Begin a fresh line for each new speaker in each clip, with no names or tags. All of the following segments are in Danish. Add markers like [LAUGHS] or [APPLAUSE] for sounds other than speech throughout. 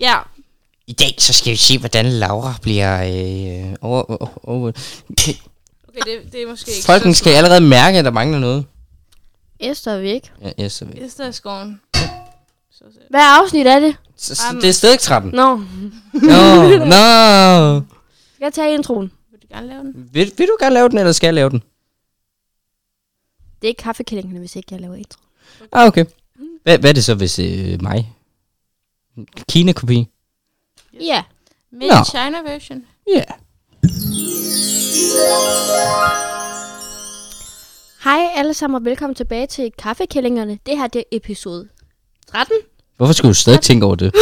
Ja,
I dag så skal vi se, hvordan Laura bliver øh, over... over, over.
okay, det, det er måske ikke
Folken skal allerede mærke, at der mangler noget.
Esther er væk.
Ja, yes, så, vi-
Esther er skoven. Så ser jeg.
Hvad afsnit er det?
så, så, det er stadig trappen.
Nå,
Nå, nå.
skal jeg tage introen?
Vil du gerne lave den?
Vil, vil du gerne lave den, eller skal jeg lave den?
Det er ikke kaffekællingerne, hvis ikke jeg laver intro.
Ah, okay. Hvad, hvad er det så, hvis øh, mig? Kina-kopi?
Ja.
Made
Nå.
in China version.
Ja. Yeah.
Hej alle sammen og velkommen tilbage til Kaffekællingerne. Det her det er episode 13.
Hvorfor skulle du stadig tænke over det?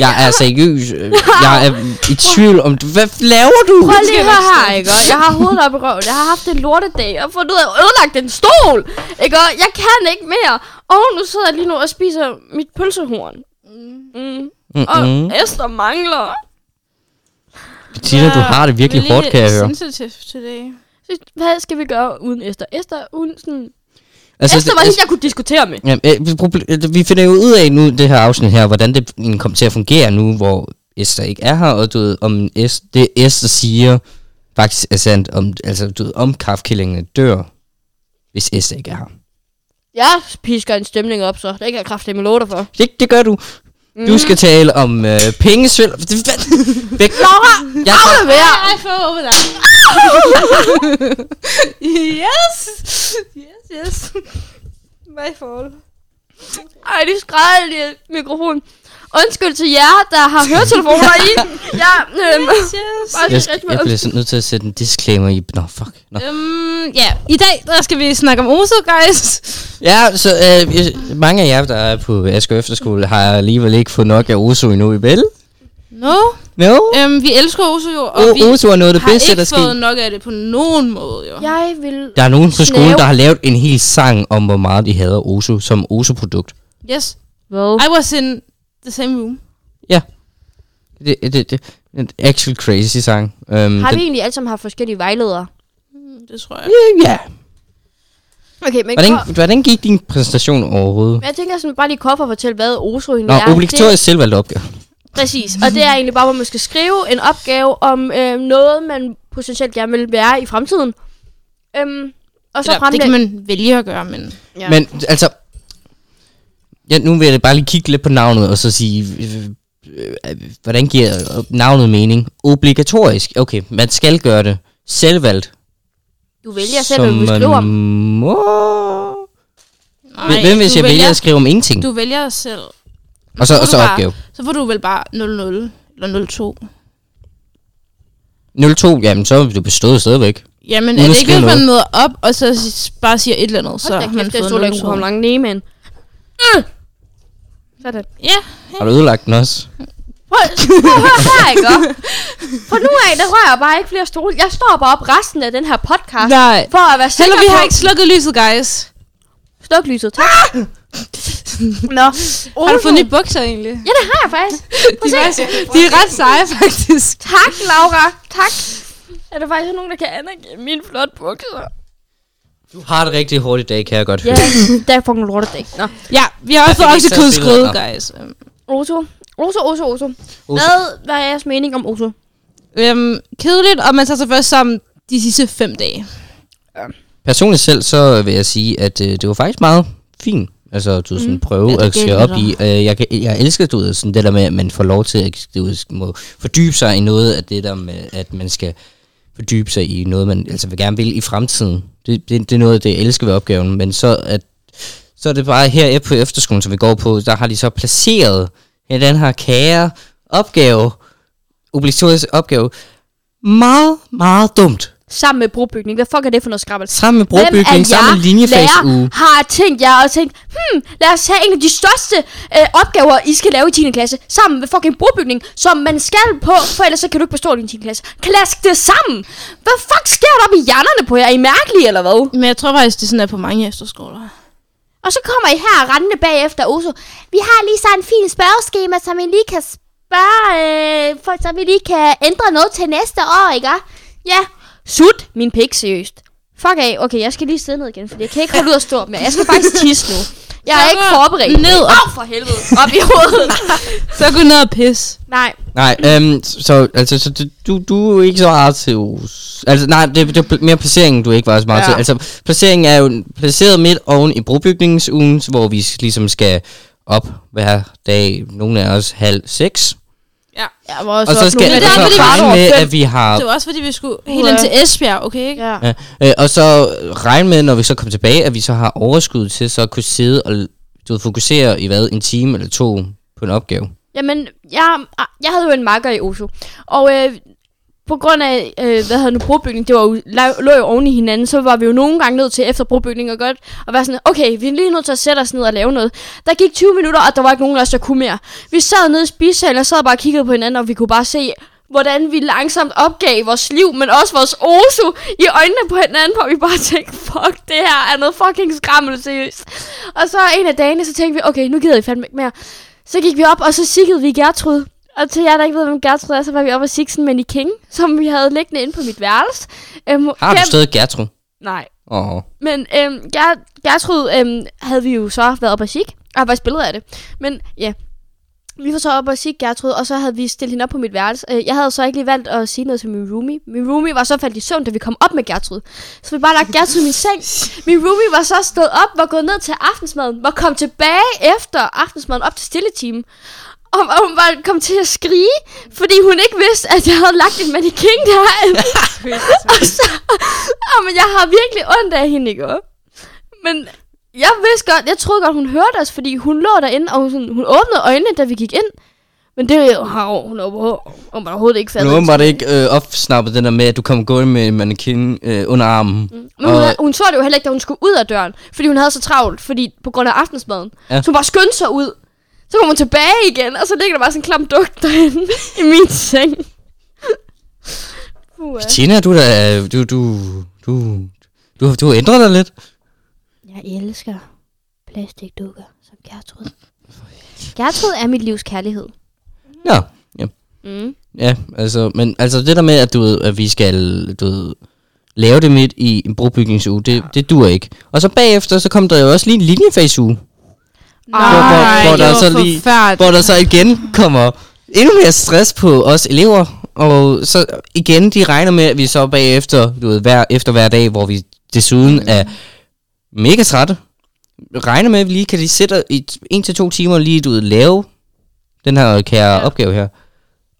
Jeg er seriøs. øh, Jeg er i tvivl om... Hvad laver du?
Prøv lige at høre her, ikke? Jeg har hovedet op i røven. Jeg har haft en lortedag. Jeg har fundet ud af, at jeg har ødelagt en stol. Ikke? Jeg kan ikke mere. Og nu sidder jeg lige nu og spiser mit pølsehorn. Mm. Og
Mm-mm.
Esther mangler.
Bettina, du har det virkelig
Really
hårdt, kan jeg høre.
sensitive today.
Så Hvad skal vi gøre uden Esther? Esther, uden sådan...
Altså,
Esther var hende, jeg kunne diskutere med.
Ja, øh, vi proble- øh, vi finder jo ud af nu, det her afsnit her, hvordan det egentlig kommer til at fungere nu, hvor Esther ikke er her, og du ved, om es- det Esther siger faktisk er sandt, om, altså du ved, om kaffekillingene dør, hvis Esther ikke er her.
Jeg pisker en stemning op, så det kan jeg kraftigt med dig for.
Det, det gør du. Mm.
Mhm.
Du skal tale om øh, pengesvil. Det-
[LAUGHS]
hvad- Væk.
Laura,
Jeg,
af med jer!
I fell over that. yes. Yes, yes. My fault.
Ej, de skrædder lige mikrofonen. Undskyld til jer, der har høretelefoner [LAUGHS] i. Jeg, øhm,
Yes.
bare
jeg,
lige rigtig
jeg
meget
bliver sådan nødt til at sætte en disclaimer i. Nå, fuck. Nå.
Øhm, ja. I dag, der skal vi snakke om Oso, guys.
Ja, så øh, jeg- mange af jer, der er på Asger Efterskole, har alligevel ikke fået nok af Oso endnu, vel?
No.
No?
Øhm, vi elsker Oso jo, og vi
O- Oso er noget af det
har
bedste, der
ikke
sker.
fået nok af det på nogen måde, jo.
Jeg vil...
Der er nogen på
Snæv.
skolen, der har lavet en hel sang om, hvor meget de hader Oso som Oso-produkt.
Yes.
Hvad?
I was in the same room.
Det, det, det, en actual crazy sang. Um,
Har vi egentlig alle sammen haft forskellige vejledere?
Det tror jeg.
Ja.
Okay, men hvordan,
Hvordan, hvordan gik din præsentation overhovedet?
jeg tænker sådan bare lige kort for at fortælle, hvad OSRO egentlig
Nå,
er.
obligatorisk selvvalgt opgave.
Det, præcis, og det er egentlig bare, hvor man skal skrive en opgave om øh, noget, man potentielt gerne vil være i fremtiden. Øhm, og så
Eller, det
fremlægge...
kan man vælge at gøre, men...
Ja.
Men altså... Ja, nu vil jeg bare lige kigge lidt på navnet og så sige... øh, øh, øh, Hvordan giver øh, navnet mening? Obligatorisk. Okay, man skal gøre det. Selvvalgt.
Du vælger selv, hvad du vil
man
skrive om.
Må...
Nej,
Hvem hvis
du
jeg vælger at skrive om ingenting?
Du vælger selv.
og så,
så
og
du
så
bare-
opgave.
Så får du vel bare 00 eller 02.
02, jamen så er du bestået stadigvæk.
Jamen,
Nu
er
er
det
der
ikke,
skrevet
at man møder op, og så s- bare siger et eller andet, så
Hold da
har man
kæft, jeg
fået
stod der ikke kunne komme
02.
langt
[LAUGHS]
ned, mand. Sådan.
Ja,
Har du ødelagt den også?
Prøv,
[LAUGHS]
prøv at høre her, ikke? For nu af, der rører jeg bare ikke flere stole. Jeg står bare op resten af den her podcast.
Nej.
For at være sikker
Heller vi
på...
har ikke slukket lyset, guys.
Sluk lyset, tak.
[LAUGHS]
Nå.
Har du fået nye bukser egentlig?
Ja, det har jeg faktisk.
De er, faktisk, de er ret seje, faktisk.
Tak, Laura. Tak. Er der faktisk nogen, der kan anerkende mine flotte bukser?
Du har det rigtig hårdt i dag, kan jeg godt høre.
det er fucking lortedag. Nå.
Ja, vi har også
Jeg
fået
fik ikke taget
oksekødsgrøde,
billeder
guys. Øhm,
Oso. Oso, Oso, Oso.
Oso.
Hvad, hvad er jeres mening om Oso?
Øhm, kedeligt, og man tager sig først sammen de sidste fem dage.
Personligt selv, så vil jeg sige, at øh, det var faktisk meget fint. Altså, du ved, sådan
Mm.
prøve
Ja, det
at se
gælder
op
dig.
i. Øh, jeg, kan, jeg elsker, du ved, sådan det der med, at man får lov til at du ved, må fordybe sig i noget af det der med, at man skal fordybe sig i noget, man altså vil gerne vil i fremtiden. Det, det, det er noget, af det jeg elsker ved opgaven. Men så, at, så er det bare her på efterskolen, som vi går på, der har de så placeret ja, den her kære opgave, obligatorisk opgave, meget, meget dumt.
Sammen med brobygning. Hvad fuck er det for noget skrammel?
Sammen med brobygning, sammen med linjefagsuge.
har tænkt jer og tænkt, hmm, lad os tage en af de største øh, opgaver, I skal lave i 10. klasse, sammen med fucking brobygning, som man skal på, for ellers så kan du ikke bestå din 10. klasse. Klask det sammen! Hvad fuck sker der op i hjernerne på jer? Er I mærkelige eller hvad?
Men jeg tror faktisk, det er sådan, der er på mange efterskoler.
Og så kommer I her rendende bagefter Oso. Vi har lige så en fin spørgeskema, som I lige kan spørge, øh, for, så vi lige kan ændre noget til næste år, ikke? Ja. Sut min pik, seriøst. Fuck af. Okay, jeg skal lige sidde ned igen, for jeg kan ikke holde ud at stå op mere. Jeg skal faktisk tisse nu. Jeg er ikke forberedt.
Ned og,
Au for helvede. Op i hovedet.
så gå ned og pisse.
Nej.
Nej, øhm, så, altså, så du- du, du er ikke så meget til Aarhus. Altså, nej, det, det er mere placeringen, du ikke var så meget ja.
Ja.
til. Altså, placeringen er jo placeret midt oven i brobygningsugen, så hvor vi s- ligesom skal op hver dag, nogle af os halv seks.
Ja.
Jeg var også
Og så skal
nogle af
det
dem er
så
fordi, vi
regne
skulle
med,
fem.
at vi har...
Det var også fordi, vi skulle helt ind til Esbjerg, okay? Ikke?
Ja.
Ja, øh, og så regne med, når vi så kommer tilbage, at vi så har overskud til så at kunne sidde og du ved, fokusere i hvad, en time eller to på en opgave.
Jamen, jeg, jeg havde jo en makker i Oslo. Og øh, på grund af, øh, hvad hedder nu, brobygning, det var jo, la- lå jo oven i hinanden, så var vi jo nogle gange nødt til efter brobygning og godt, og være sådan, okay, vi er lige nødt til at sætte os ned og lave noget. Der gik 20 minutter, og der var ikke nogen af os, der kunne mere. Vi sad nede i spisesalen og sad bare og kiggede på hinanden, og vi kunne bare se, hvordan vi langsomt opgav vores liv, men også vores osu i øjnene på hinanden, hvor vi bare tænkte, fuck, det her er noget fucking skrammel, seriøst. Og så en af dagene, så tænkte vi, okay, nu gider vi fandme ikke mere. Så gik vi op, og så sikkede vi Gertrud. Og til jer, der ikke ved, hvem Gertrud er, så var vi oppe og sikse en i King, som vi havde liggende inde på mit værelse. Øhm,
Har du
Gert-
stadig Gertrud?
Nej.
Åh,
Men øhm, Ger- Gertrud øhm, havde vi jo så været oppe og sig, og har faktisk billeder af det. Men ja, vi var så oppe og sig Gertrud, og så havde vi stillet hende op på mit værelse. Øh, Jeg havde så ikke lige valgt at sige noget til min roomie. Min roomie var så faldet i søvn, da vi kom op med Gertrud. Så vi bare lagt Gertrud i min seng. Min roomie var så stået op, var gået ned til aftensmaden, var kommet tilbage efter aftensmaden op til stilletimen. Og og hun var kom til at skrige, fordi hun ikke vidste, at jeg havde lagt en mannequin derinde. [LAUGHS] og så, og men jeg har virkelig ondt af hende, ikke? også? Men jeg vidste godt, jeg troede godt, hun hørte os, fordi hun lå derinde, og hun, sådan, hun åbnede øjnene, da vi gik ind. Men det er jo, har hun overho- overhovedet ikke
Nu
fattet.
har åbenbart ikke øh, opsnappet den der med, at du kom gå med en mannequin øh, under armen. Mm.
Men hun,
Og-
havde, hun så det jo heller ikke, da hun skulle ud af døren, fordi hun havde så travlt, fordi på grund af aftensmaden.
Ja.
Ja. Så hun bare skyndte sig ud. Så kom hun tilbage igen, og så ligger der bare sådan en klam dugt derinde [LAUGHS] i min seng. Puh,
Tina, du da, øh, du, du, du, du, har- du har ændret dig lidt.
Jeg elsker plastikdukker som Gertrud. Gertrud er mit livs kærlighed.
Ja, ja,
Mm.
ja, altså, men altså det der med, at, du ved, at vi skal, du ved, lave det midt i en brobygningsuge, det, det dur ikke. Og så bagefter, så kom der jo også lige en linjefagsuge,
Ej,
hvor, hvor
det
der
var
så lige-
forfærdeligt.
hvor der så igen kommer endnu mere stress på os elever. Og så igen, de regner med, at vi så bagefter, du ved, hver, efter hver dag, hvor vi desuden er mega trætte, regner med, at vi lige kan lige sætte i t- en til to timer lige, du ved, lave den her kære ja. opgave her.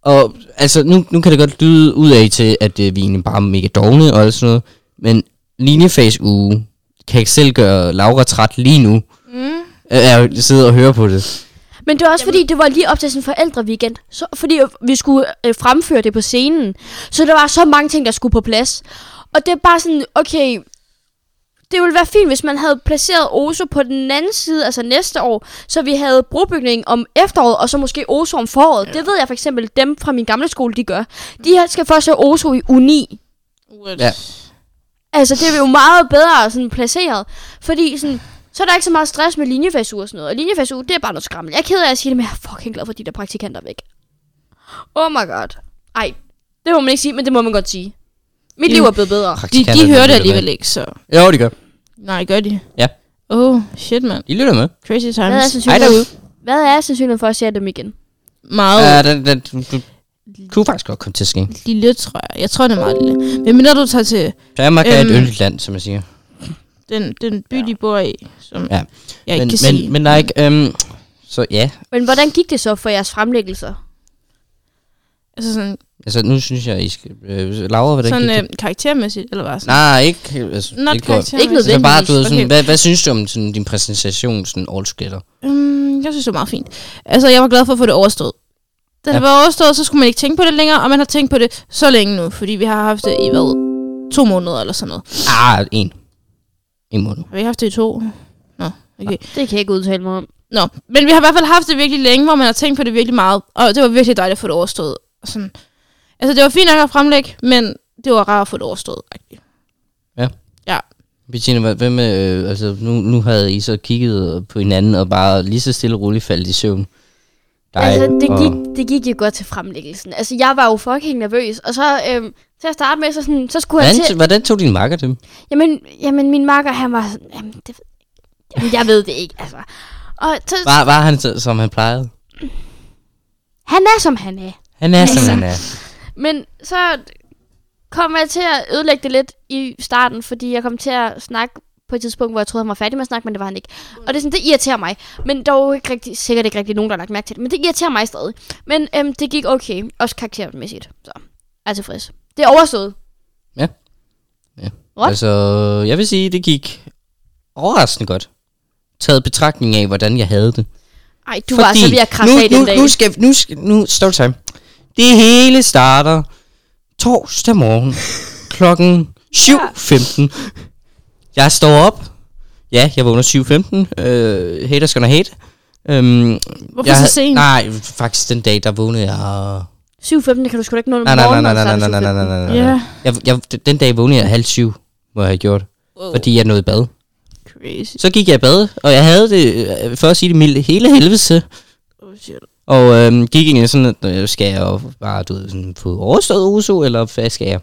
Og altså, nu, nu kan det godt lyde ud af til, at øh, vi egentlig bare er mega dogne og alt sådan noget, men linjefase uge kan ikke selv gøre Laura træt lige nu. Mm. Jeg sidder og hører på det.
Men det var også Jamen. fordi, det var lige op til sådan en forældreweekend. Så, fordi vi skulle øh, fremføre det på scenen. Så der var så mange ting, der skulle på plads. Og det er bare sådan, okay... Det ville være fint, hvis man havde placeret OSO på den anden side, altså næste år, så vi havde brobygning om efteråret, og så måske OSO om foråret. Ja. Det ved jeg for eksempel, dem fra min gamle skole, de gør. De her skal først have OSO i uni.
Ja.
Altså, det er jo meget bedre sådan placeret, fordi sådan, så er der ikke så meget stress med linjefagsuge og sådan noget. Og linjefagsuge, det er bare noget skrammel. Jeg er ked af at sige det, men jeg er fucking glad for, at de der praktikanter er væk. Oh my god. Ej, det må man ikke sige, men det må man godt sige. Mit
Jo.
liv er blevet bedre.
De,
Praktikanter,
de hører det
lytter
alligevel
med.
ikke, så...
Jo, de gør.
Nej, gør de?
Ja.
Oh, shit, mand.
De lytter med.
Crazy
Hvad er
times.
Hej derude.
sandsynligheden, hvad er sandsynligheden for at se dem igen?
Meget
Ja, den, den, du, du kunne faktisk godt komme til at ske.
lille, tror jeg. Jeg tror, det er meget lille. Men mindre du tager til
Danmark er et
Øhm.
yndigt land, som jeg siger.
den, den by, de bor i, som
Ja.
jeg ikke kan
men, men,
sige.
men der er ikke... Øhm, så ja,
Men hvordan gik det så for jeres fremlæggelser?
altså sådan,
altså nu synes jeg, I skal... Øh, Laura, hvordan gik det?
sådan øh, karaktermæssigt, eller hvad? Sådan.
Nej, ikke... Altså,
Not
ikke godt.
karaktermæssigt.
Ikke
Altså bare, du ved,
nødvendigvis.
sådan, okay.
Okay.
hvad, hvad synes du om sådan, din præsentation sådan all together?
Mm, jeg synes, det var meget fint. Altså, jeg var glad for at få det overstået. Da det
Ja.
var overstået, så skulle man ikke tænke på det længere, og man har tænkt på det så længe nu, fordi vi har haft det i, hvad, to måneder eller sådan noget.
Ah, en. En måned.
Har vi ikke haft det i to? Nå, okay.
Det kan jeg ikke udtale mig om.
Nå, men vi har i hvert fald haft det virkelig længe, hvor man har tænkt på det virkelig meget, og det var virkelig dejligt at få det overstået. Og Sådan. Altså, det var fint nok at fremlægge, men det var rart at få det overstået. agtigt.
Bettina, hvad- hvad med, øh, altså nu, nu havde I så kigget på hinanden og bare lige så stille og roligt faldt i søvn. Dig
altså, det
og-
gik, det gik jo godt til fremlæggelsen. Altså, jeg var jo fucking nervøs. Og så, øhm, til at starte med, så, sådan, så skulle jeg til...
Hvordan, hvordan tog din makker dem?
Jamen, jamen min makker, han var sådan, jamen, det, Jamen, jeg ved det ikke, altså. Og så,
Var, var han, så- som han plejede?
han er, som han er.
Han er, som han er.
Men så kom jeg til at ødelægge det lidt i starten, fordi jeg kom til at snakke på et tidspunkt, hvor jeg troede, han var færdig med at snakke, men det var han ikke. Og det, er sådan, det irriterer mig. Men der er jo ikke rigtig, sikkert ikke rigtig nogen, der har lagt mærke til det. Men det irriterer mig stadig. Men øhm, det gik okay, også karaktermæssigt. Så jeg er tilfreds. Det er overstået. What?
Altså, jeg vil sige, det gik overraskende godt. Taget i betragtning af, hvordan jeg havde det.
Ej, du Fordi var altså ved at krasse
nu,
af den
nu,
dag.
Nu skal, nu skal, nu, storytime. Det hele starter torsdag
[LAUGHS]
morgen klokken 7.15. Jeg står op. Ja, jeg vågner 7.15. Øh, haters gonna hate. Øhm,
Hvorfor så
havde-
sent?
Nej, faktisk den dag, der vågnede jeg...
7.15, det kan du sgu da ikke nå
Nej, nej, nej, nej, nej, nej, nej, nej, nej, nej, nej.
Ja.
Jeg, jeg, den dag vågnede jeg halv syv, må jeg have gjort.
Wow.
Fordi jeg nåede i bad.
Crazy.
Så gik jeg i bad, og jeg havde det, øh, for at sige det mildt, hele helvede.
Oh, shit.
Og øhm, gik egentlig sådan, at øh, skal jeg jo bare du ved, sådan, få overstået USO, eller hvad skal jeg?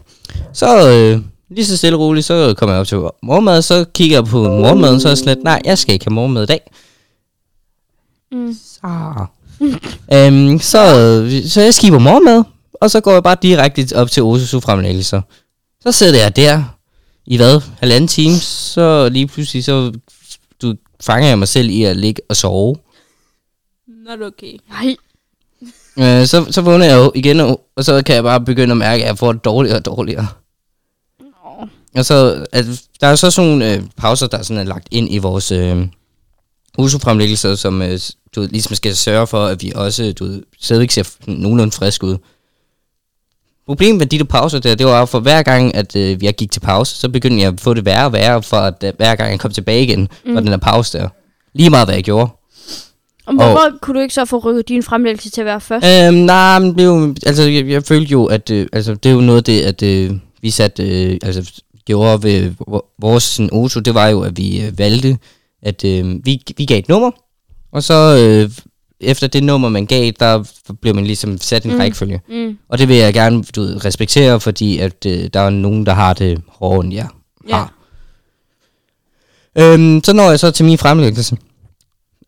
Så øh, lige så stille og roligt, så kommer jeg op til morgenmad, så kigger jeg på morgenmaden, så er jeg slet, nej, jeg skal ikke have morgenmad i dag.
Mm.
Så, øhm, så, øh, så jeg skiver morgenmad, og så går jeg bare direkte op til OSU fremlæggelser. Så sidder jeg der i hvad, halvanden time, så lige pludselig så du, fanger jeg mig selv i at ligge og sove.
Not okay.
Nej,
Øh, så, så vågner jeg jo igen, og og så kan jeg bare begynde at mærke, at jeg får det dårligere og dårligere. Og så, at, der er jo så sådan nogle øh, pauser, der sådan er lagt ind i vores øh, husfremlæggelser, som øh, s- du ved, ligesom skal sørge for, at vi også du ved, stadigvæk ser f- nogenlunde frisk ud. Problemet med de der pauser der, det var for hver gang, at øh, jeg gik til pause, så begyndte jeg at få det værre og værre, for at øh, hver gang jeg kom tilbage igen mm. fra den der pause der. Lige meget hvad jeg gjorde.
Og hvorfor kunne du ikke så få rykket din fremlæggelse til at være først?
Øhm, nej, men det er jo, altså, jeg, jeg følte jo, at øh, altså, det er jo noget af det, at øh, vi satte, øh, altså, gjorde ved vo- vores sådan, OSO, det var jo, at vi øh, valgte, at øh, vi, vi gav et nummer, og så øh, efter det nummer, man gav, der blev man ligesom sat i en mm. rækkefølge.
Mm.
Og det vil jeg gerne du ved, respektere, fordi at, øh, der er nogen, der har det hårdere, end jeg
Ja.
har. Øhm, så når jeg så til min fremlæggelse.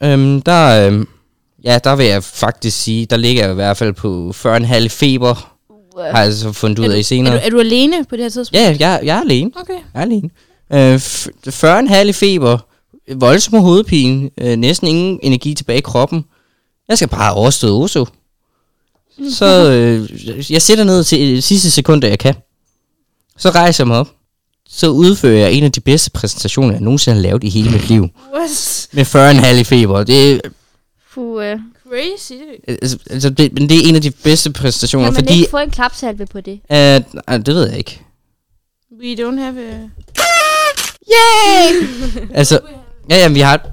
Øhm, der, øhm, ja, der vil jeg faktisk sige, der ligger jeg i hvert fald på 40,5 feber, har jeg så fundet ud af i
Er
senere.
du, er du alene på det her tidspunkt?
Ja, jeg, jeg er alene.
Okay.
Jeg er alene. Øh, f- 40,5 i feber, voldsom hovedpine, øh, næsten ingen energi tilbage i kroppen. Jeg skal bare overstå OSO. Så øh, jeg sætter ned til øh, sidste sekund, da jeg kan. Så rejser jeg mig op. Så udfører jeg en af de bedste præsentationer, jeg nogensinde har lavet i hele mit liv.
What's
Med 40,5 i feber. Det,
Puh, øh,
crazy?
øh, altså, altså, det, men det er en af de bedste præstationer,
kan man
fordi...
ikke få en klapsalve på det?
Øh, nej, det ved jeg ikke.
We don't have a...
Altså, ja, ja, vi har...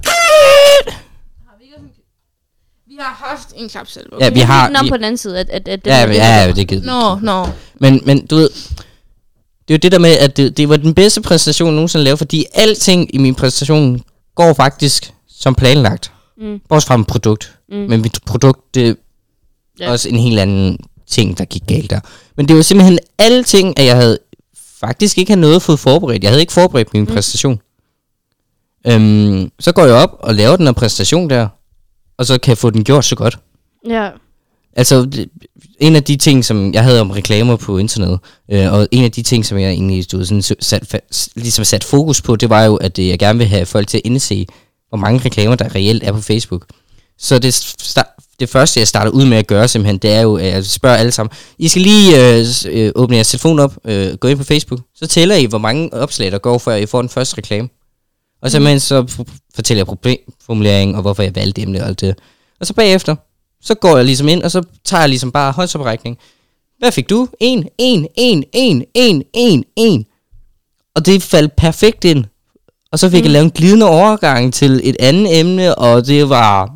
Vi har haft en klapsalve.
Ja, vi har...
Den Ligesom om
Vi,
på den anden side, at, at, at den
ja,
er
ja,
lidt-
ja, det gider vi.
Nå, nå.
Men, men du ved, det er jo det der med, at det, det var den bedste præstation, jeg nogensinde lavede, fordi alting i min præstation går faktisk som planlagt.
Mm.
Bortset fra mit produkt. Mm. Men mit produkt, det er
Ja.
ja. også en helt anden ting, der gik galt der. Men det var simpelthen alle ting, at jeg havde faktisk ikke havde noget fået forberedt. Jeg havde ikke forberedt min mm. præstation. Øhm, så går jeg op og laver den her præstation der, og så kan jeg få den gjort så godt.
ja.
Altså, det- en af de ting, som jeg havde om reklamer på internettet, øh, og en af de ting, som jeg egentlig stod sådan, så- sat, fa- s- ligesom sat fokus på, det var jo, at øh, jeg gerne vil have folk til at indse, hvor mange reklamer, der reelt er på Facebook. Så det, sta- det første, jeg starter ud med at gøre simpelthen, det er jo, at jeg spørger alle sammen, I skal lige øh, s- øh, åbne jeres telefon op, øh, gå ind på Facebook, så tæller I, hvor mange opslag, der går, før I får den første reklame. Og simpelthen så f- fortæller jeg problemformuleringen, og hvorfor jeg valgte emnet og alt det. Og så bagefter, så går jeg ligesom ind, og så tager jeg ligesom bare håndsoprækning. Hvad fik du? En, en, en, en, en, en, en. Og det faldt perfekt ind. Og så fik mm. jeg lavet en glidende overgang til et andet emne, og det var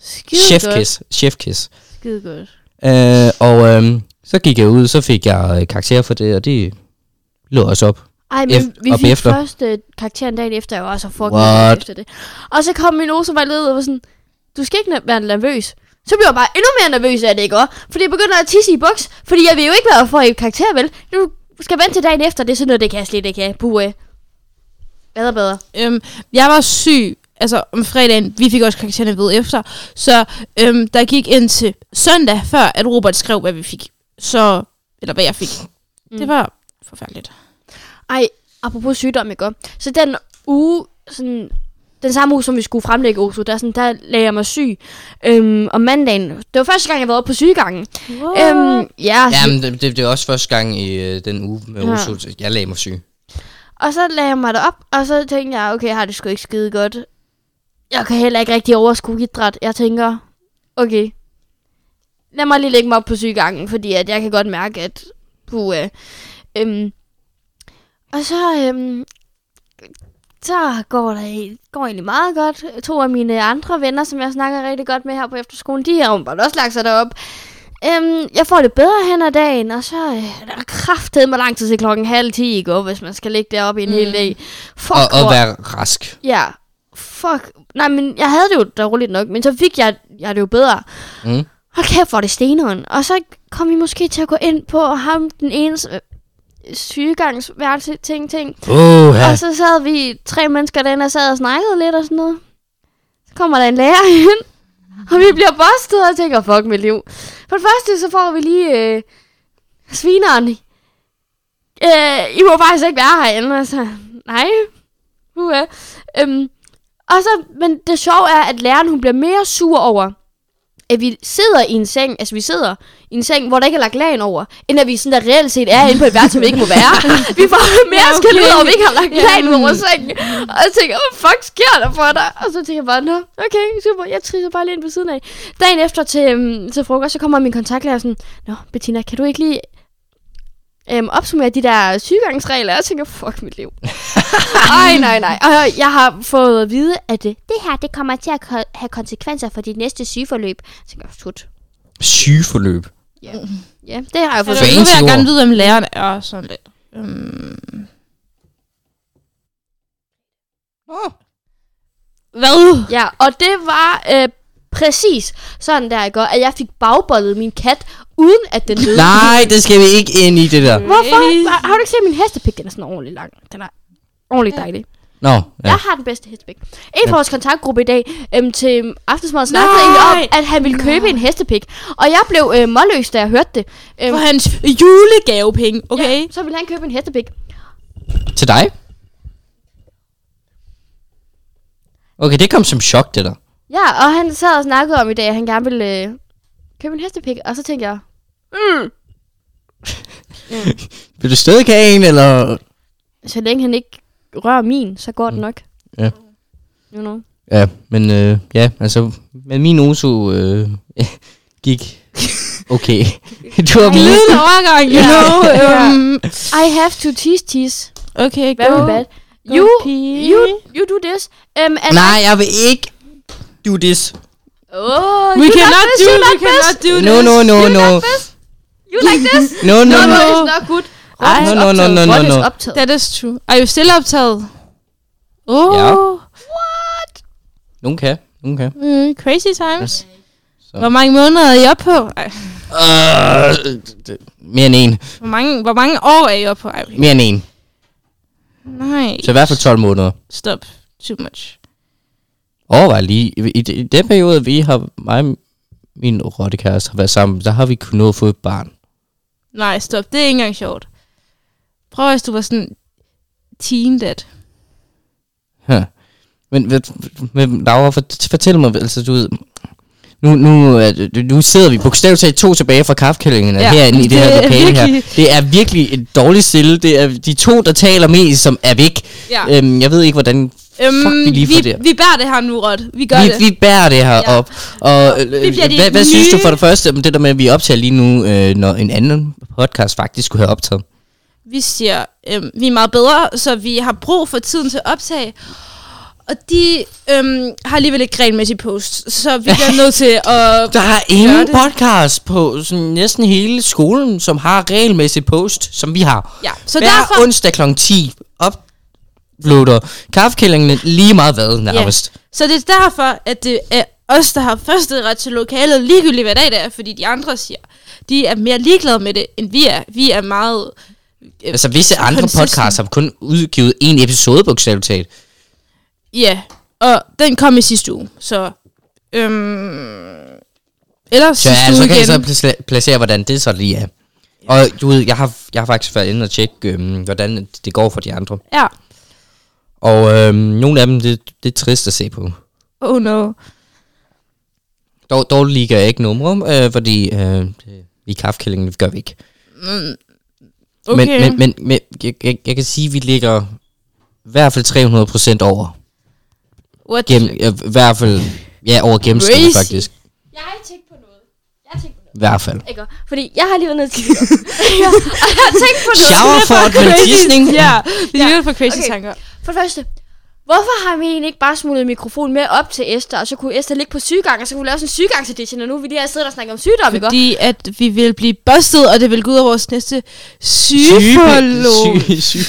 Skide godt.
chefkiss. Chefkiss.
Skide godt.
Øh, og øhm, så gik jeg ud, så fik jeg øh, karakter for det, og det lå også op.
Ej, men
Ef-
vi
op
fik
efter.
først øh, karakteren dagen efter, og jeg var så fucking
What?
nervøs efter det. Og så kom min osevejleder og var sådan, du skal ikke ne- være nervøs. Så blev jeg bare endnu mere nervøs af det, ikke også? Fordi jeg begynder at tisse i buks, fordi jeg vil jo ikke være for i karakter, vel? Du skal vente til dagen efter, det er sådan noget, det kan jeg slet ikke have. Buh, øh. Bedre, bedre.
Øhm, jeg var syg. altså om fredagen, vi fik også karaktererne ved efter, så øhm, der gik indtil søndag, før at Robert skrev, hvad vi fik. Så, eller hvad jeg fik. Mm. Det var forfærdeligt.
Ej, apropos sygdom, ikke? også? Så den uge, sådan, den samme uge, som vi skulle fremlægge Oso, der, sådan, der lagde jeg mig syg øhm, om mandagen. Det var første gang, jeg var oppe på sygegangen. Øhm, ja, så,
Jamen, det, det, det var også første gang i øh, den uge med
Ja.
ja. Osult, jeg lagde mig syg.
og så lagde jeg mig derop, og så tænkte jeg, okay, jeg har det sgu ikke skide godt. Jeg kan heller ikke rigtig overskue idræt. Jeg tænker, okay, lad mig lige lægge mig op på sygegangen, fordi at jeg kan godt mærke, at du... Øh, øhm, og så, øhm, så går det går egentlig meget godt. To af mine andre venner, som jeg snakker rigtig godt med her på efterskolen, de har åbenbart også lagt sig derop. Øhm, jeg får det bedre hen ad dagen, og så øh, er der kraftet med lang tid til klokken halv ti i går, hvis man skal ligge deroppe i en mm. hel dag. Fuck,
Og, og
hvor-
være rask.
Ja, fuck. Nej, men jeg havde det jo da roligt nok, men så fik jeg, jeg det jo bedre.
Mm.
Hold kæft, hvor er det steneren. Og så kom vi måske til at gå ind på ham, den ens øh, sygegangsværelse, ting, ting.
Oh,
Og så sad vi tre mennesker derinde og sad og snakkede lidt og sådan noget. Så kommer der en lærer [LAUGHS] ind, og vi bliver bustet og jeg tænker, fuck mit liv. For det første, så får vi lige øh, svineren. Øh, I må faktisk ikke være herinde, altså. Nej. Uha. Øhm, og så, men det sjove er, at læreren hun bliver mere sur over, at vi sidder i en seng, altså vi sidder i en seng, hvor der ikke er lagt lagen over, end at vi sådan der reelt set er inde på et værelse, som vi ikke må være. [LAUGHS] vi får mere
[LAUGHS] Ja,
ja, okay. skæld ud over, at vi ikke har lagt
Ja,
lagen over
mm.
sengen. Og jeg tænker, hvad fuck sker der for dig? Og så tænker jeg bare, nå, okay, super, jeg trisser bare lige ind ved siden af. Dagen efter til, øhm, til frokost, så kommer min kontaktlærer sådan, nå, Bettina, kan du ikke lige øhm, opsummere de der sygegangsregler? Og jeg tænker, fuck mit
[LAUGHS]
liv. Ej, nej, nej. Og jeg har fået at vide, at det, det her, det kommer til at ko- have konsekvenser for dit næste sygeforløb. Jeg tænker, tut.
Sygeforløb.
Ja, det har jeg fået.
Altså,
Fancy
nu vil jeg
ord.
gerne vide, om læreren er sådan lidt. Um... Oh. Hvad?
Ja, og det var øh, præcis sådan der, ikke? Og at jeg fik bagbollet min kat, uden at den døde.
Nej, det skal vi ikke ind i, det der.
Hvorfor? Har- Har du ikke set min hestepik? Den er sådan ordentligt lang. Den er ordentligt dejlig. Ja.
Nå, ja.
Jeg har den bedste hestepik. En fra vores kontaktgruppe i dag øhm, til aftensmad snakkede
Nej!
egentlig om, at han ville købe en hestepik. Og jeg blev øh, målløs, da jeg hørte det. Øhm,
For hans julegavepenge, okay?
ja, så ville han købe en hestepik.
Til dig? Okay, det kom som chok, det der.
Ja, og han sad og snakkede om i dag, at han gerne ville øh, købe en hestepik. Og så tænkte jeg,
Vil du stadig have en, eller?
så længe han ikke rører min, så går det nok.
Mm. Ja.
You know.
Ja, men øh, ja, altså, men min oso øh, [LAUGHS] gik okay. [LAUGHS] du har min...
Glidende overgang, you
Ja.
know. Um,
I have to tease, tease.
okay, go.
Very bad.
Go,
You,
pige.
you, you do this. Um, and
Nej, jeg vil ikke do this.
Oh,
We
you
cannot
like this,
do,
you
we
like this.
cannot do this.
No, no, no, no.
You like this?
No, no,
[LAUGHS] no, no,
no.
it's not good.
Ej,
No, no, no, no, no,
What
no.
is optaget?
That is true. Er jo stille optaget? Oh,
Ja.
yeah.
Nogen kan, nogen kan.
mm, crazy times.
Yes. Så.
Hvor mange måneder er I oppe på? Ej,
Øh, det- mere end en.
hvor, mange, hvor mange år er I oppe på? Ej, okay.
Mere end en.
nej.
Så i hvert fald 12 måneder.
Stop. Too much.
Overvej lige, i, i, i den periode, vi har, mig og min rottekæreste har været sammen, der har vi kunnet nå at få et barn.
Nej, stop. Det er ikke engang sjovt. Prøv hvis du var sådan teen dad.
Huh. Men, men, men Laura, fort- fortæl mig, altså du ved, nu, nu, er det- nu sidder vi bogstaveligt talt to tilbage fra kaffekællingerne
Ja,
ja, herinde i det,
det
her
er
lokale her.
virkelig-
Det er virkelig et dårligt stille. Det er de to, der taler mest, som er væk.
Ja.
Øhm, jeg ved ikke, hvordan fuck vi lige får
Øhm, vi,
det her.
vi bærer det her nu, Rot. Vi gør det.
vi, vi bærer det her
Ja.
ja. op. Og øh,
Vi bliver de
hvad, hvad synes du
nye-
for det første om det der med, at vi optager lige nu, øh, når en anden podcast faktisk skulle have optaget?
vi siger, øhm, vi er meget bedre, så vi har brug for tiden til at optage. Og de øhm, har alligevel ikke regelmæssig post, så vi
[LAUGHS]
bliver nødt til at...
Der er
Gør
ingen
det.
podcast på sådan, næsten hele skolen, som har regelmæssig post, som vi har.
Ja, så
Hver
derfor-
onsdag kl. 10 uploader kaffekællingene lige meget hvad nærmest.
Så det er derfor, at det er os, der har første ret til lokalet, ligegyldigt hvad dag det er, fordi de andre siger, de er mere ligeglade med det, end vi er. Vi er meget... øh,
Altså visse andre
consistent.
podcasts har kun udgivet en episode bogstaveligt talt.
Ja, Og den kom i sidste uge, så... Øhm, eller
Så,
sidste
ja,
uge
så kan jeg
igen.
så pla- placere, hvordan det så lige er. Og du ved, jeg har, jeg har faktisk været inde og tjekke, øhm, hvordan det går for de andre.
Ja.
Og øhm, nogle af dem, det, det er trist at se på.
Oh no.
Dog, dog ligger jeg ikke numre, øh, fordi øh, det- i kaffekællingen gør vi ikke.
Okay.
Men, men, men, men jeg, jeg, jeg kan sige, at vi ligger i hvert fald 300 procent over.
What?
Gennem, øh, I hvert fald, ja, over gennemsnittet
Crazy.
faktisk.
Jeg har ikke tænkt på noget. Jeg har tænkt på noget.
I hvert fald.
Ikke? Fordi jeg har lige været nede til [LAUGHS] ja, og jeg har tænkt på noget.
Shower for adventisning.
Ja, det
Ja.
er lidt for crazy
Okay.
tanker.
For det første, hvorfor har vi egentlig ikke bare smuglet mikrofonen med op til Esther, og så kunne Esther ligge på sygegang, og så kunne vi lave sådan en sygegangsedition, og nu er vi lige her siddet og snakket om sygdom, ikke? også?
Fordi at vi vil blive bustet, og det vil gå ud over vores næste sygeforlog.
Syge, syge,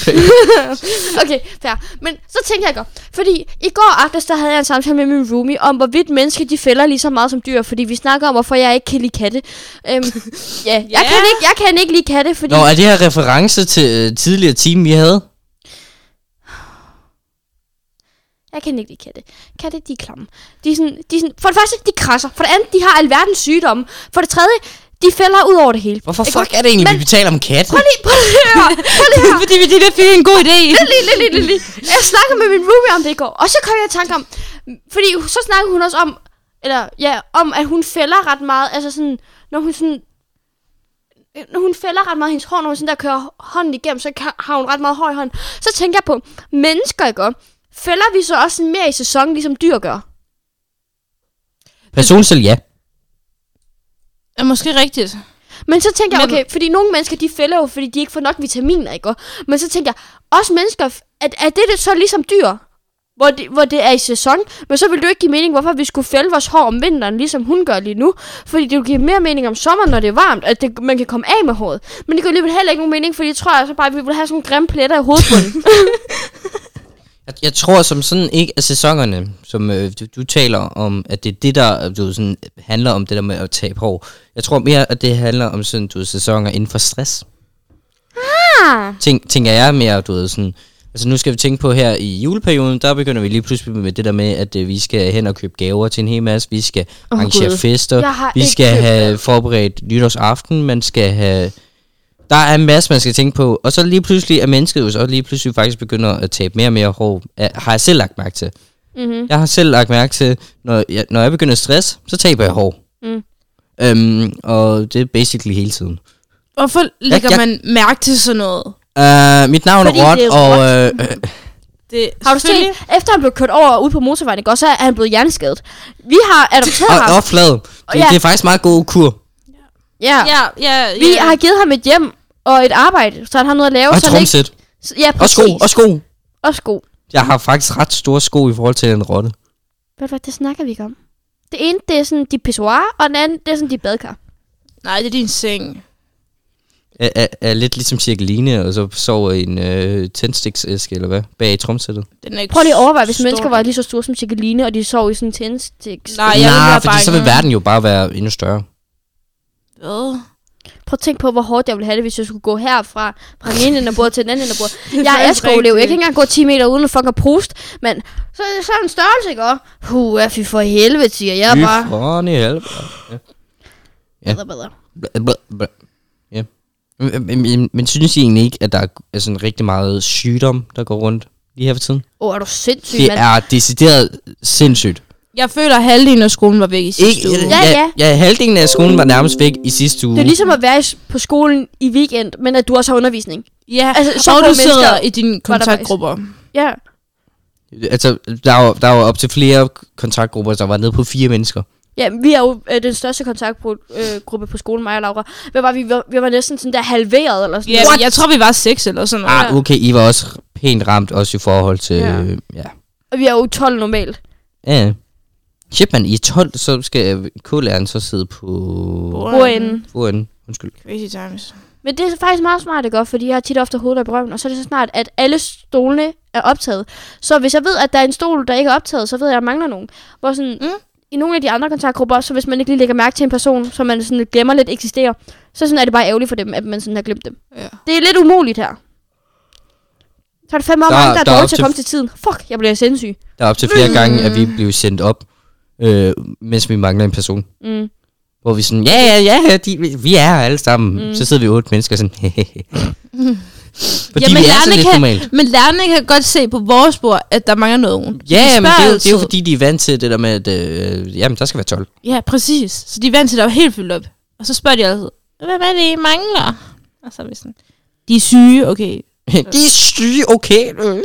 [LAUGHS] Okay, fair. Men så tænkte jeg godt, fordi i går aftes, der havde jeg en samtale med min roomie om, hvorvidt mennesker de fælder lige så meget som dyr, fordi vi snakker om, hvorfor jeg ikke kan lide katte. Øhm, ja, jeg,
Ja.
Kan ikke, jeg kan ikke lide katte, fordi...
[LAUGHS] Nå, er det her reference til øh, tidligere team, vi havde?
Jeg kan ikke lide katte. Katte, de er klamme. De er sådan, de er sådan, for det første, de krasser. For det andet, de har alverdens sygdomme. For det tredje, de fælder ud over det hele.
Hvorfor
Ikke
fuck er det egentlig,
Men-
men... vi taler om katten?
Prøv lige, prøv lige at høre. [LAUGHS] Prøv lige at høre.
[LAUGHS] Fordi vi lige der fik en god idé.
Lige, lige, lige, lige, lige. [LAUGHS] Jeg snakkede med min roomie om det i går. Og så kom jeg i tanke om... Fordi så snakkede hun også om... Eller ja, om at hun fælder ret meget. Altså sådan, når hun sådan... Når hun fælder ret meget hendes hår, når hun sådan der kører hånden igennem, så kan- har hun ret meget hår i hånden. Så tænker jeg på, mennesker, ikke? også? Fælder vi så også sådan mere i sæsonen, ligesom dyr gør?
Personligt selv, ja.
Er måske rigtigt.
Men så tænker jeg,
Men-
okay, fordi nogle mennesker, de fælder jo, fordi de ikke får nok vitaminer, ikke? Og- Men så tænker jeg, også mennesker, at, er det det så ligesom dyr? Hvor det, hvor det er i sæson, men så vil det jo ikke give mening, hvorfor vi skulle fælde vores hår om vinteren, ligesom hun gør lige nu. Fordi det jo giver mere mening om sommeren, når det er varmt, at det, man kan komme af med håret. Men det gør alligevel heller ikke nogen mening, fordi jeg tror altså bare, at vi vil have sådan nogle grimme pletter i
[LAUGHS]
hovedbunden.
Jeg, jeg tror som sådan ikke, at sæsonerne, som øh, du, du taler om, at det er det, der øh, du, ved, sådan, handler om det der med at tabe hår. Jeg tror mere, at det handler om sådan, du, ved, sæsoner inden for stress.
ah,
Tænk, tænker jeg mere, du ved, sådan... Altså nu skal vi tænke på her i juleperioden, der begynder vi lige pludselig med det der med, at øh, vi skal hen og købe gaver til en hel masse, vi skal
Åh,
oh, arrangere
Gud.
fester,
Jeg har
vi
ikke
skal
købt
have forberedt nytårsaften, man skal have... Der er en masse, man skal tænke på, og så lige pludselig er mennesket jo så lige pludselig faktisk begynder at tabe mere og mere hår, Er- har jeg selv lagt mærke til.
mm-hmm.
Jeg har selv lagt mærke til, når jeg, når jeg begynder at stress, så taber jeg hår.
Mm.
Øhm, og det er basically hele tiden.
Hvorfor lægger
jeg-
man mærke til sådan noget?
Uh, mit navn
Fordi
er Rod,
det er
og øh,
Rod.
øh,
Det,
Har du set,
selvfølgelig-
efter han blev kørt over ude på motorvejen, ikke? Og så er han blevet hjerneskadet. Vi har adopteret
øh, og,
ham.
og flad. Det,
Ja.
det er faktisk meget god kur.
Ja.
Ja, ja, ja.
Vi har givet ham et hjem og et arbejde, så han har noget at lave.
Og
så han ikke...
tromsæt.
Så- Ja,
Og
præcis.
sko, og sko.
og sko.
Jeg har faktisk ret store sko i forhold til en rotte.
Ved du hvad, det snakker vi ikke om. Det ene, det er sådan de pissoir, og den anden, det er sådan de badkar.
Nej, det er din seng.
Er, er, er lidt ligesom cirkeline, og så sover i en øh, tændstiksæske, eller hvad? Bag i tromsættet.
Den er ikke
Prøv lige at overveje, hvis
stor.
mennesker var lige så store som Chicaline, og de sov i sådan en tændstiks.
Nej, jeg vil
Nej,
være
fordi så vil
bange.
verden jo bare være endnu større.
Hvad?
Prøv at tænke på, hvor hårdt jeg ville have det, hvis jeg skulle gå herfra, fra den ene ende af bordet til den anden ende
[LAUGHS]
af bordet.
er
Jeg er
faktisk
skoleelev, jeg kan
rigtigt.
ikke engang gå 10 meter uden at fucking prost, men så, så er en størrelse, ikke også? Huh, fy for helvede, siger jeg
Fy
bare.
foran i helvede. ja.
Bedre, bedre.
Bla- bla- bla- Ja. Men, men- men, men synes I egentlig ikke, at der er er sådan rigtig meget sygdom, der går rundt lige her for tiden?
Åh, oh, er du sindssyg,
Det
mand?
er decideret sindssygt.
Jeg føler, at halvdelen af skolen var væk i sidste uge.
Ja,
ja, ja, halvdelen af skolen var nærmest væk i sidste uge.
Det er ligesom at være i- på skolen i weekend, men at du også har undervisning.
Ja,
Altså, så
så og
få
du sidder
mennesker
i dine kontaktgrupper.
Ja.
Altså, der var, der var op til flere kontaktgrupper, der var nede på fire mennesker.
Ja, vi er jo øh, den største kontaktgruppe øh, på skolen, mig og Laura. Hvad var vi? Vi var, vi var næsten sådan der halveret eller sådan
Ja,
noget.
jeg tror, vi var seks eller sådan noget.
Ah, okay, I var også pænt ramt, også i forhold til...
Ja.
Ja. ja.
Og vi er jo 12 normalt.
ja. Shit, man, i 12, så skal K-læreren så sidde på...
Wow.
mm.
Foran. Undskyld.
Crazy times.
Men det er faktisk meget smart, det gør, fordi jeg har tit ofte hovedet i røven, og så er det så smart, at alle stolene er optaget. Så hvis jeg ved, at der er en stol, der ikke er optaget, så ved jeg, at jeg mangler nogen. Hvor sådan,
Mm.
mm. i nogle af de andre kontaktgrupper, så hvis man ikke lige lægger mærke til en person, som man sådan glemmer lidt eksisterer, så sådan er det bare ærgerligt for dem, at man sådan har glemt dem.
Ja.
Det er lidt umuligt her. Så er det fandme om,
Der-
der, der er
der er
dårlig
op
til at
til-
komme til tiden. Fuck, jeg bliver sindssyg.
Der er op til flere gange, at vi blev sendt op, øh, mens vi mangler en person.
Mm.
Hvor vi sådan, ja, ja, ja, ja, de, vi- vi er her alle sammen. Mm. Så sidder vi otte mennesker sådan, [LAUGHS] hehehe.
[LAUGHS]
Fordi ja, vi er så lidt
kan,
normalt.
men lærerne kan godt se på vores bord, at der mangler nogen.
Ja,
De
men det er,
spørger
jo, det er jo
altid.
fordi, de er vant til det der med, at øh, jamen, der skal være 12.
Ja, præcis. Så de er vant til, at der er helt fyldt op. Og så spørger de altid, hvad er det, I mangler? Og så er vi sådan, de er syge, okay.
[LAUGHS] de er syge, okay. Øh.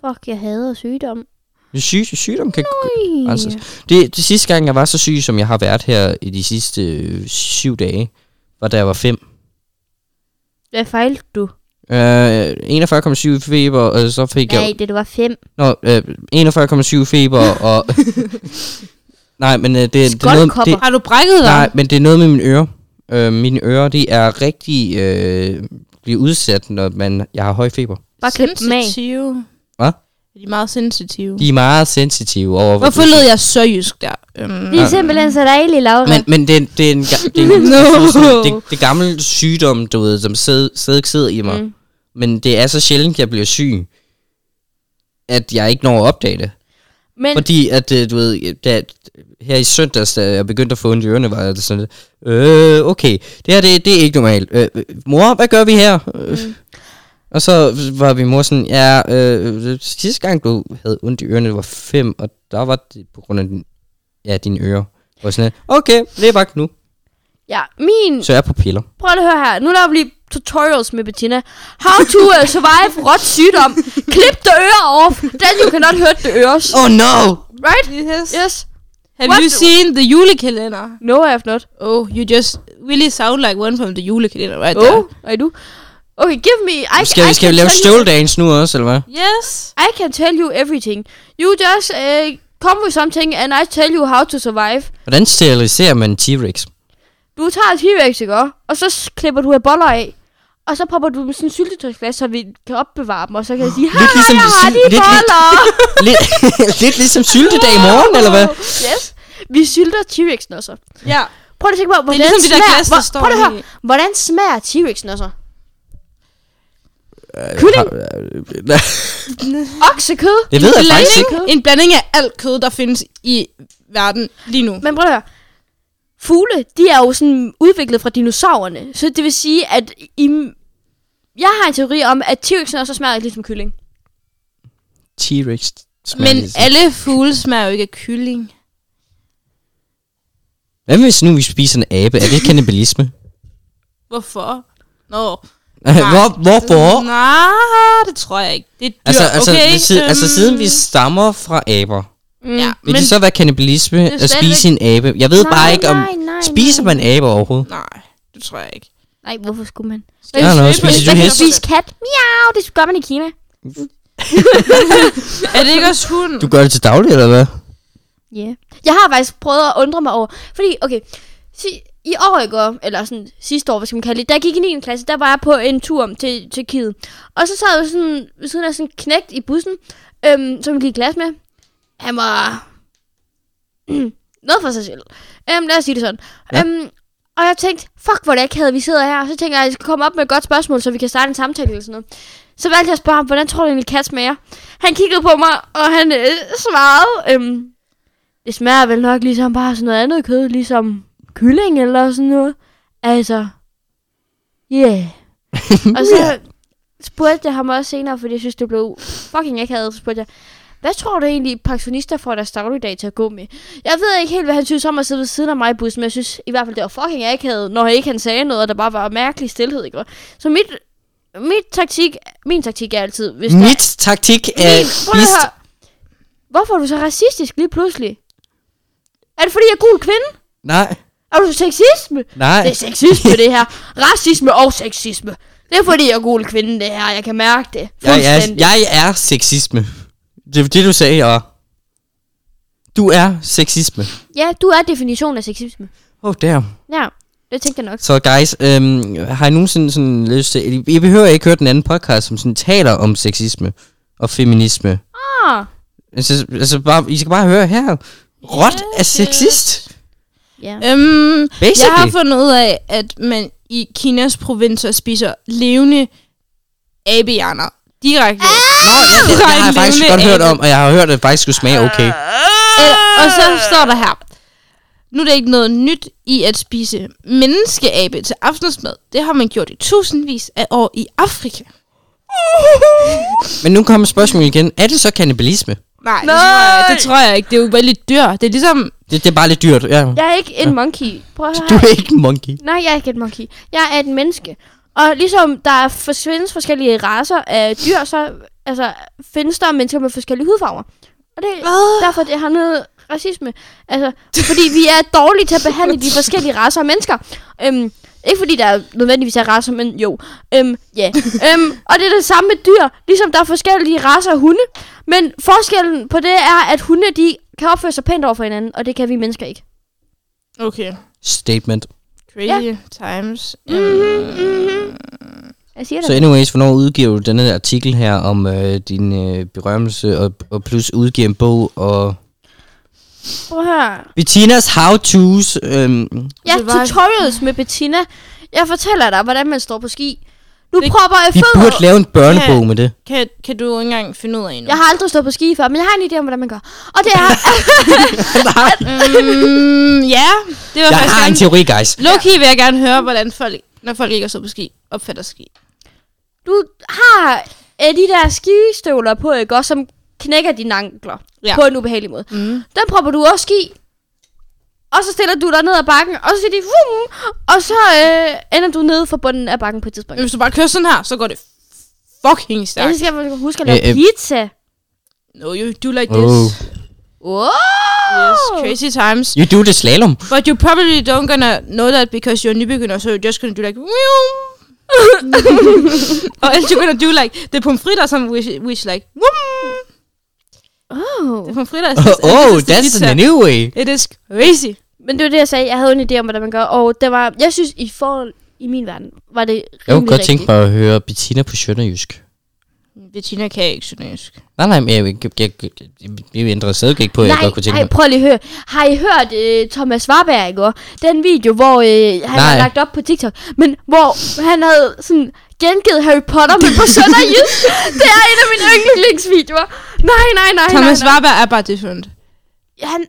Fuck, jeg hader sygdom.
Syg, sygdom kan altså, det, det sidste gang, jeg var så syg, som jeg har været her i de sidste øh, syv dage, var da jeg var fem.
Hvad fejlte du?
Øh, 41,7 feber, og så fik jeg...
det, det var fem.
Nå, øh, 41,7 feber og... nej, men øh, det, det, er noget,
Skoldkopper.
det,
Har du brækket dig?
nej, men det er noget med mine ører. Øh, mine ører, de er rigtig... Øh, bliver udsat, når man, jeg har høj feber.
Bare klip dem af.
sensitive.
Hvad?
De er meget sensitive.
De er meget sensitive over...
Hvorfor lød jeg så jysk der? Øhm,
Det er simpelthen så dejligt, Laura.
Men, men det, er- det er en, ga- det, er en
No.
det, det er gammel sygdom, du ved, som sæd- stadig sidder i mig. Mm. Men det er så sjældent, jeg bliver syg, at jeg ikke når at opdage det.
men
Fordi at, øh, du ved, da, her i søndags, da jeg begyndte at få ondt i ørerne, var jeg sådan lidt, øh, okay, det her, det, det er ikke normalt. Øh, øh, mor, hvad gør vi her? Mm. Og så var vi mor sådan, ja, øh, sidste gang du havde ondt i ørerne, det var fem, og der var det på grund af din, ja, dine ører. Og sådan lidt, okay, det er bare nu.
ja, min...
Så jeg er på piller.
Prøv lige at høre her. Nu laver vi lige tutorials med Bettina. How to uh, survive rot sygdom. Clip the ear off. Then you cannot hurt the ears.
Oh no!
Right?
yes.
Yes.
Have
What
you
do-
seen the julekalender?
No, I have not.
Oh, you just really sound like one from the julekalender right
Oh,
there.
I do. Okay, give me... I,
Skal,
I
vi, skal
can
vi lave
tell you-
stole dance nu også, eller hvad?
Yes.
I can tell you everything. You just uh, come with something, and I tell you how to survive.
Hvordan steriliserer man en T-Rex?
Du tager et T-Rex, ikke også? Og så s- klipper du her boller af. Og så popper du dem i sådan en syltetøjsglas, så vi kan opbevare dem. Og så kan jeg sige,
Lidt
haha,
ligesom
ligesom jeg har
syl-
de
lidt- lidt-
boller!
Lidt, lidt [LAUGHS] ligesom syltedag i morgen, eller hvad?
Yes. Vi sylter T-Rex'en også.
Ja.
Prøv lige at tænke på, hvordan
ligesom de der
smager...
glas, der
hvor-
står
prøv lige at
i.
høre, hvordan smager T-Rex'en også? Kylling, oksekød.
Det ved [LAUGHS] jeg faktisk ikke.
En blanding af alt kød, der findes i verden lige nu.
Men prøv at høre. Fugle, de er jo sådan udviklet fra dinosaurerne. Så det vil sige, at i... Jeg har en teori om, at T-Rex'en også smager lidt ligesom kylling.
T-Rex smager
Men
ligesom.
alle fugle smager jo ikke af kylling.
Hvad hvis nu vi spiser en abe? Er det kannibalisme?
Hvorfor? Nå.
[LAUGHS] Hvor, hvorfor?
Nej, det tror jeg ikke. Det er dyr,
Altså, altså,
okay?
hvis, si- altså
Øhm,
siden vi stammer fra aber,
Ja,
vil
men...
det så være kannibalisme
er
at spise en abe? Jeg ved
Nej,
bare ikke, om
nej, nej,
spiser man abe overhovedet?
Nej, det tror jeg ikke.
Nej, hvorfor skulle man?
Skal
Ja,
vi svøbe?
nå, spiser du
Hvad kan
hest?
spise?
kat. Miau, det gør man i Kina.
Er det ikke også hund?
Du gør det til daglig, eller hvad?
Ja. Yeah. Jeg har faktisk prøvet at undre mig over, fordi, okay, si- i år i går, eller sådan sidste år, hvad skal man kalde det, der gik i 9. klasse, der var jeg på en tur til til Kiet. Og så sad jeg sådan ved siden af sådan en knægt i bussen, øhm, som jeg gik i klasse med. Han var [CLEARS THROAT] noget for sig selv. Øhm, lad os sige det sådan.
Ja.
Ja. Øhm, og jeg tænkte, fuck hvor det ikke havde, vi sidder her. Og så tænker jeg, at jeg skal komme op med et godt spørgsmål, så vi kan starte en samtale eller sådan noget. Så valgte jeg at spørge ham, hvordan tror du egentlig kat smager? Han kiggede på mig, og han øh, svarede, øhm, det smager vel nok ligesom bare sådan noget andet kød, ligesom kylling eller sådan noget. Altså, yeah. og så spurgte jeg ham også senere, fordi jeg synes, det blev fucking akavet, så spurgte jeg, hvad tror du egentlig, pensionister får deres dagligdag til at gå med? Jeg ved ikke helt, hvad han synes om at sidde ved siden af mig i bussen, men jeg synes i hvert fald, det var fucking akavet, når ikke han sagde noget, og der bare var mærkelig stillhed, ikke? Så mit, mit taktik, min taktik er altid, hvis der
Mit taktik er...
min, prøv lige at
spist-
høre. Hvorfor er du så racistisk lige pludselig? Er det fordi, jeg er gul kvinde?
Nej,
Er du sexisme?
nej.
Det er sexisme, det her. Racisme og sexisme. Det er fordi, jeg er gul kvinde, det her. Jeg kan mærke det.
Jeg er,
Fuldstændig.
jeg er sexisme. Det var det, du sagde, og... Du er sexisme.
Ja, du er definitionen af sexisme.
Oh, damn.
Ja, det tænkte jeg nok.
Så guys, øhm, har I nogensinde sådan lyst til... I behøver ikke høre den anden podcast, som sådan taler om sexisme og feminisme.
Ah,
Altså, altså bare, I skal bare høre her. Rot er sexist.
ja.
Øhm, jeg
Basically.
har fundet ud af, at man i Kinas provinser spiser levende abehjerner direkte.
Det
Fra
har jeg
en
faktisk
levende
godt hørt
abe.
om, og jeg har hørt, at det faktisk skulle smage okay.
Øh, og så står der her. Nu er der ikke noget nyt i at spise menneskeabe til aftensmad. Det har man gjort i tusindvis af år i Afrika.
Men nu kommer spørgsmålet igen. Er det så kannibalisme?
Nej,
Nej.
Det, tror jeg, det tror jeg ikke. Det er jo bare lidt dyr. Det er ligesom...
Det, det er bare lidt dyrt. Ja.
Jeg er ikke en monkey. Prøv at høre.
Du
her.
er ikke en monkey.
Nej, jeg er ikke et monkey. Jeg er et menneske. Og ligesom der er for- findes forskellige raser af dyr, så altså, findes der mennesker med forskellige hudfarver. Og det er
Hvad?
derfor, det har noget racisme. Altså, fordi vi er dårlige til at behandle [LAUGHS] de forskellige raser af mennesker. Øhm, ikke fordi der er nødvendigvis er raser, men jo. Øhm, ja. øhm, og det er det samme med dyr, ligesom der er forskellige raser af hunde. Men forskellen på det er, at hunde de kan opføre sig pænt over for hinanden, og det kan vi mennesker ikke.
Okay.
Statement.
Crazy ja. Mm. times. Øhm,
Jeg siger det.
Så anyways, hvornår udgiver du denne artikel her om øh, din øh, berømmelse, og, og plus udgiver en bog, og
Prøv at høre.
Bettinas how-to's. Øhm,
Ja,
Det var-
tutorials med Bettina. Jeg fortæller dig, hvordan man står på ski. Du
Det-
propper jeg
vi burde
fødder.
lave en børnebog
Ja.
med
[LAUGHS]
det.
Kan, kan du ikke engang finde ud af endnu?
Jeg har aldrig stået på ski før, men jeg har en idé om, hvordan man gør. Og det er...
Mm, ja, det var
Jeg
faktisk
har en
gerne...
teori, guys.
Loki vil jeg gerne høre, hvordan folk, når folk ikke er så på ski, opfatter ski.
Du har øh, de der skistøvler på, ikke? Også, som knækker dine ankler.
Ja.
Ja. På en ubehagelig måde.
Mm.
Den propper du også i. Og så stiller du dig ned ad bakken, og så siger de... Vum, og så øh, ender du nede for bunden af bakken på et tidspunkt.
Men hvis du bare kører sådan her, så går det fucking
Ja,
Øhm, stærkt.
så skal man huske at lave
Øh, øh.
pizza.
No, you do like this.
Oh.
Wow!
Yes, crazy times.
You do the
[LAUGHS]
slalom.
But you probably don't gonna know that because you're a newbeginner, so you're just gonna do like...
[LAUGHS]
Meow. Or else you're gonna do like the pomfritter, som wish, wish like... Wum.
Oh.
The pomfritter is...
Oh, oh that's
pizza.
the new way.
It is crazy.
Men det var det, jeg sagde. Jeg havde en idé om, hvordan man gør. Og det var, jeg synes, i forhold i min verden, var det rimelig
Jeg kunne godt
rigtigt.
tænke mig at høre Bettina på Sønderjysk.
Bettina kan ikke sønderjysk.
Nej, nej, men jeg, jeg, jeg, jeg, jeg ændrede stadig ikke på, at jeg godt kunne tænke
nej,
mig.
prøv lige at høre. Har I hørt øh, Thomas Warberg i går? Den video, hvor øh, han
Nej.
har lagt op på TikTok. Men hvor han havde sådan gengivet Harry Potter, men på
[LAUGHS]
sønderjysk. det er en af mine yndlingsvideoer. Nej, nej, nej,
Thomas
nej,
Warberg er bare different.
nej. Han,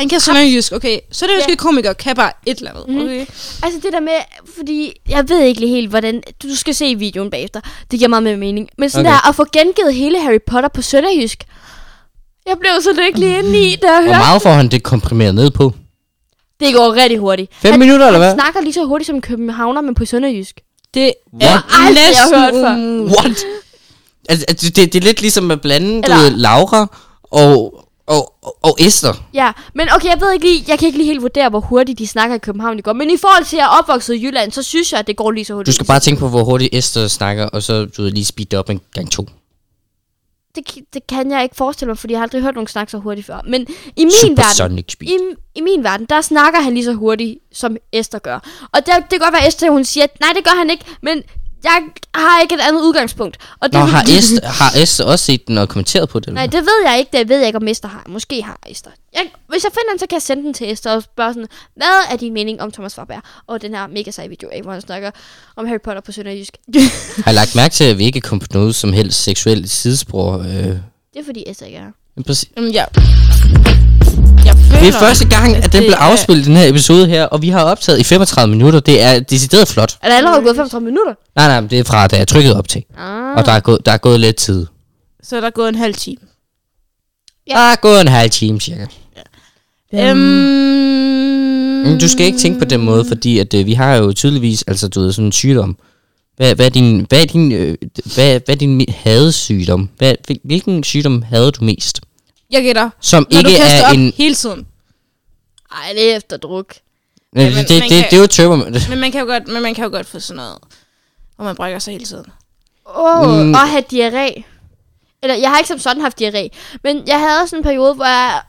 Han kan sønderjysk, okay. Så er det jo
Ja.
yeah. komiker, kan bare et eller andet,
Mhm.
okay?
Altså det der med, fordi jeg ved ikke lige helt, hvordan... Du skal se videoen bagefter. Det giver meget mere mening. Men sådan
Okay.
okay. der, at få gengivet hele Harry Potter på sønderjysk. Jeg blev så lykkelig indeni, da jeg
Hvor
hørte.
meget får han det komprimeret ned på?
Det går rigtig hurtigt.
5
Han-
minutter, eller hvad?
Han snakker lige så hurtigt som en københavner, men på sønderjysk.
Det
What?
er
Aldrig, jeg har
næsten
hørt før.
umuligt.
What? Altså, altså, det, det er lidt ligesom at blande, du
Eller-
ved, Laura og, og, og, og Esther.
Ja, men okay, jeg ved ikke lige... Jeg kan ikke lige helt vurdere, hvor hurtigt de snakker i København det går. Men i forhold til, at jeg er opvokset i Jylland, så synes jeg, at det går lige så hurtigt.
Du skal bare tænke på, hvor hurtigt Esther snakker, og så du ved, lige speed det op en gang to.
Det, ki- det kan jeg ikke forestille mig, fordi jeg har aldrig hørt nogen snakke så hurtigt før. Men i min verden...
Supersonic speed.
I, I min verden, der snakker han lige så hurtigt, som Esther gør. Og der, det kan godt være, at Esther hun siger, at nej, det gør han ikke, men jeg har ikke et andet udgangspunkt. Og det,
Nå, har Esther, har Esther også set den og kommenteret på det?
Nej, det ved jeg ikke. Det ved jeg ikke, om Esther har. Måske har Esther. Jeg, hvis jeg finder den, så kan jeg sende den til Esther og spørge sådan, hvad er din mening om Thomas Warberg og den her mega seje video, ikke, hvor han snakker om Harry Potter på sønderjysk? [LAUGHS]
Har jeg lagt mærke til, at vi ikke kom på noget som helst seksuelt sidespor? Øh,
Det er fordi Esther ikke er her.
men præcis-
Jamen, ja. Jeg føler,
det er første gang, at den
det
blev
er-
afspillet, den her episode her, og vi har optaget i 35 minutter. Det er decideret flot.
Er der allerede gået 35 minutter?
Nej, nej, men det er fra, da jeg trykkede op til.
Ah.
Og der er, gået, der er gået lidt tid.
Så er der gået en halv time.
Ja.
Der er gået en halv time cirka.
Øhm,
Men du skal ikke tænke på den måde, fordi at, øh, vi har jo tydeligvis altså, du ved, sådan en sygdom. Hvad, hvad, er din, hvad, er din, øh, hvad, hvad er din mi- hadesygdom? Hvad, hvil- hvilken sygdom havde du mest?
Jeg gætter.
Som
Når
ikke
du kaster
er
op
en...
hele tiden.
Ej, det er efter druk.
Nej,
Jamen,
det, det,
man
det,
kan-
det er jo tøber.
Men man kan jo godt, men man kan jo godt få sådan noget, hvor man brækker sig hele tiden.
Åh, oh,
Mm.
mm. og have diarré. Eller, jeg har ikke som sådan haft diarré. Men jeg havde sådan en periode, hvor jeg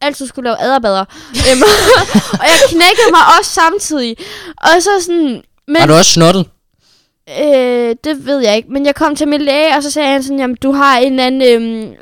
altid skulle lave
[LAUGHS]
aderbader. Øhm, [LAUGHS] og jeg knækkede mig også samtidig. Og så sådan... Men,
Har du også snottet?
øh, det ved jeg ikke. Men jeg kom til min læge, og så sagde han sådan, jamen, du har en eller anden øhm,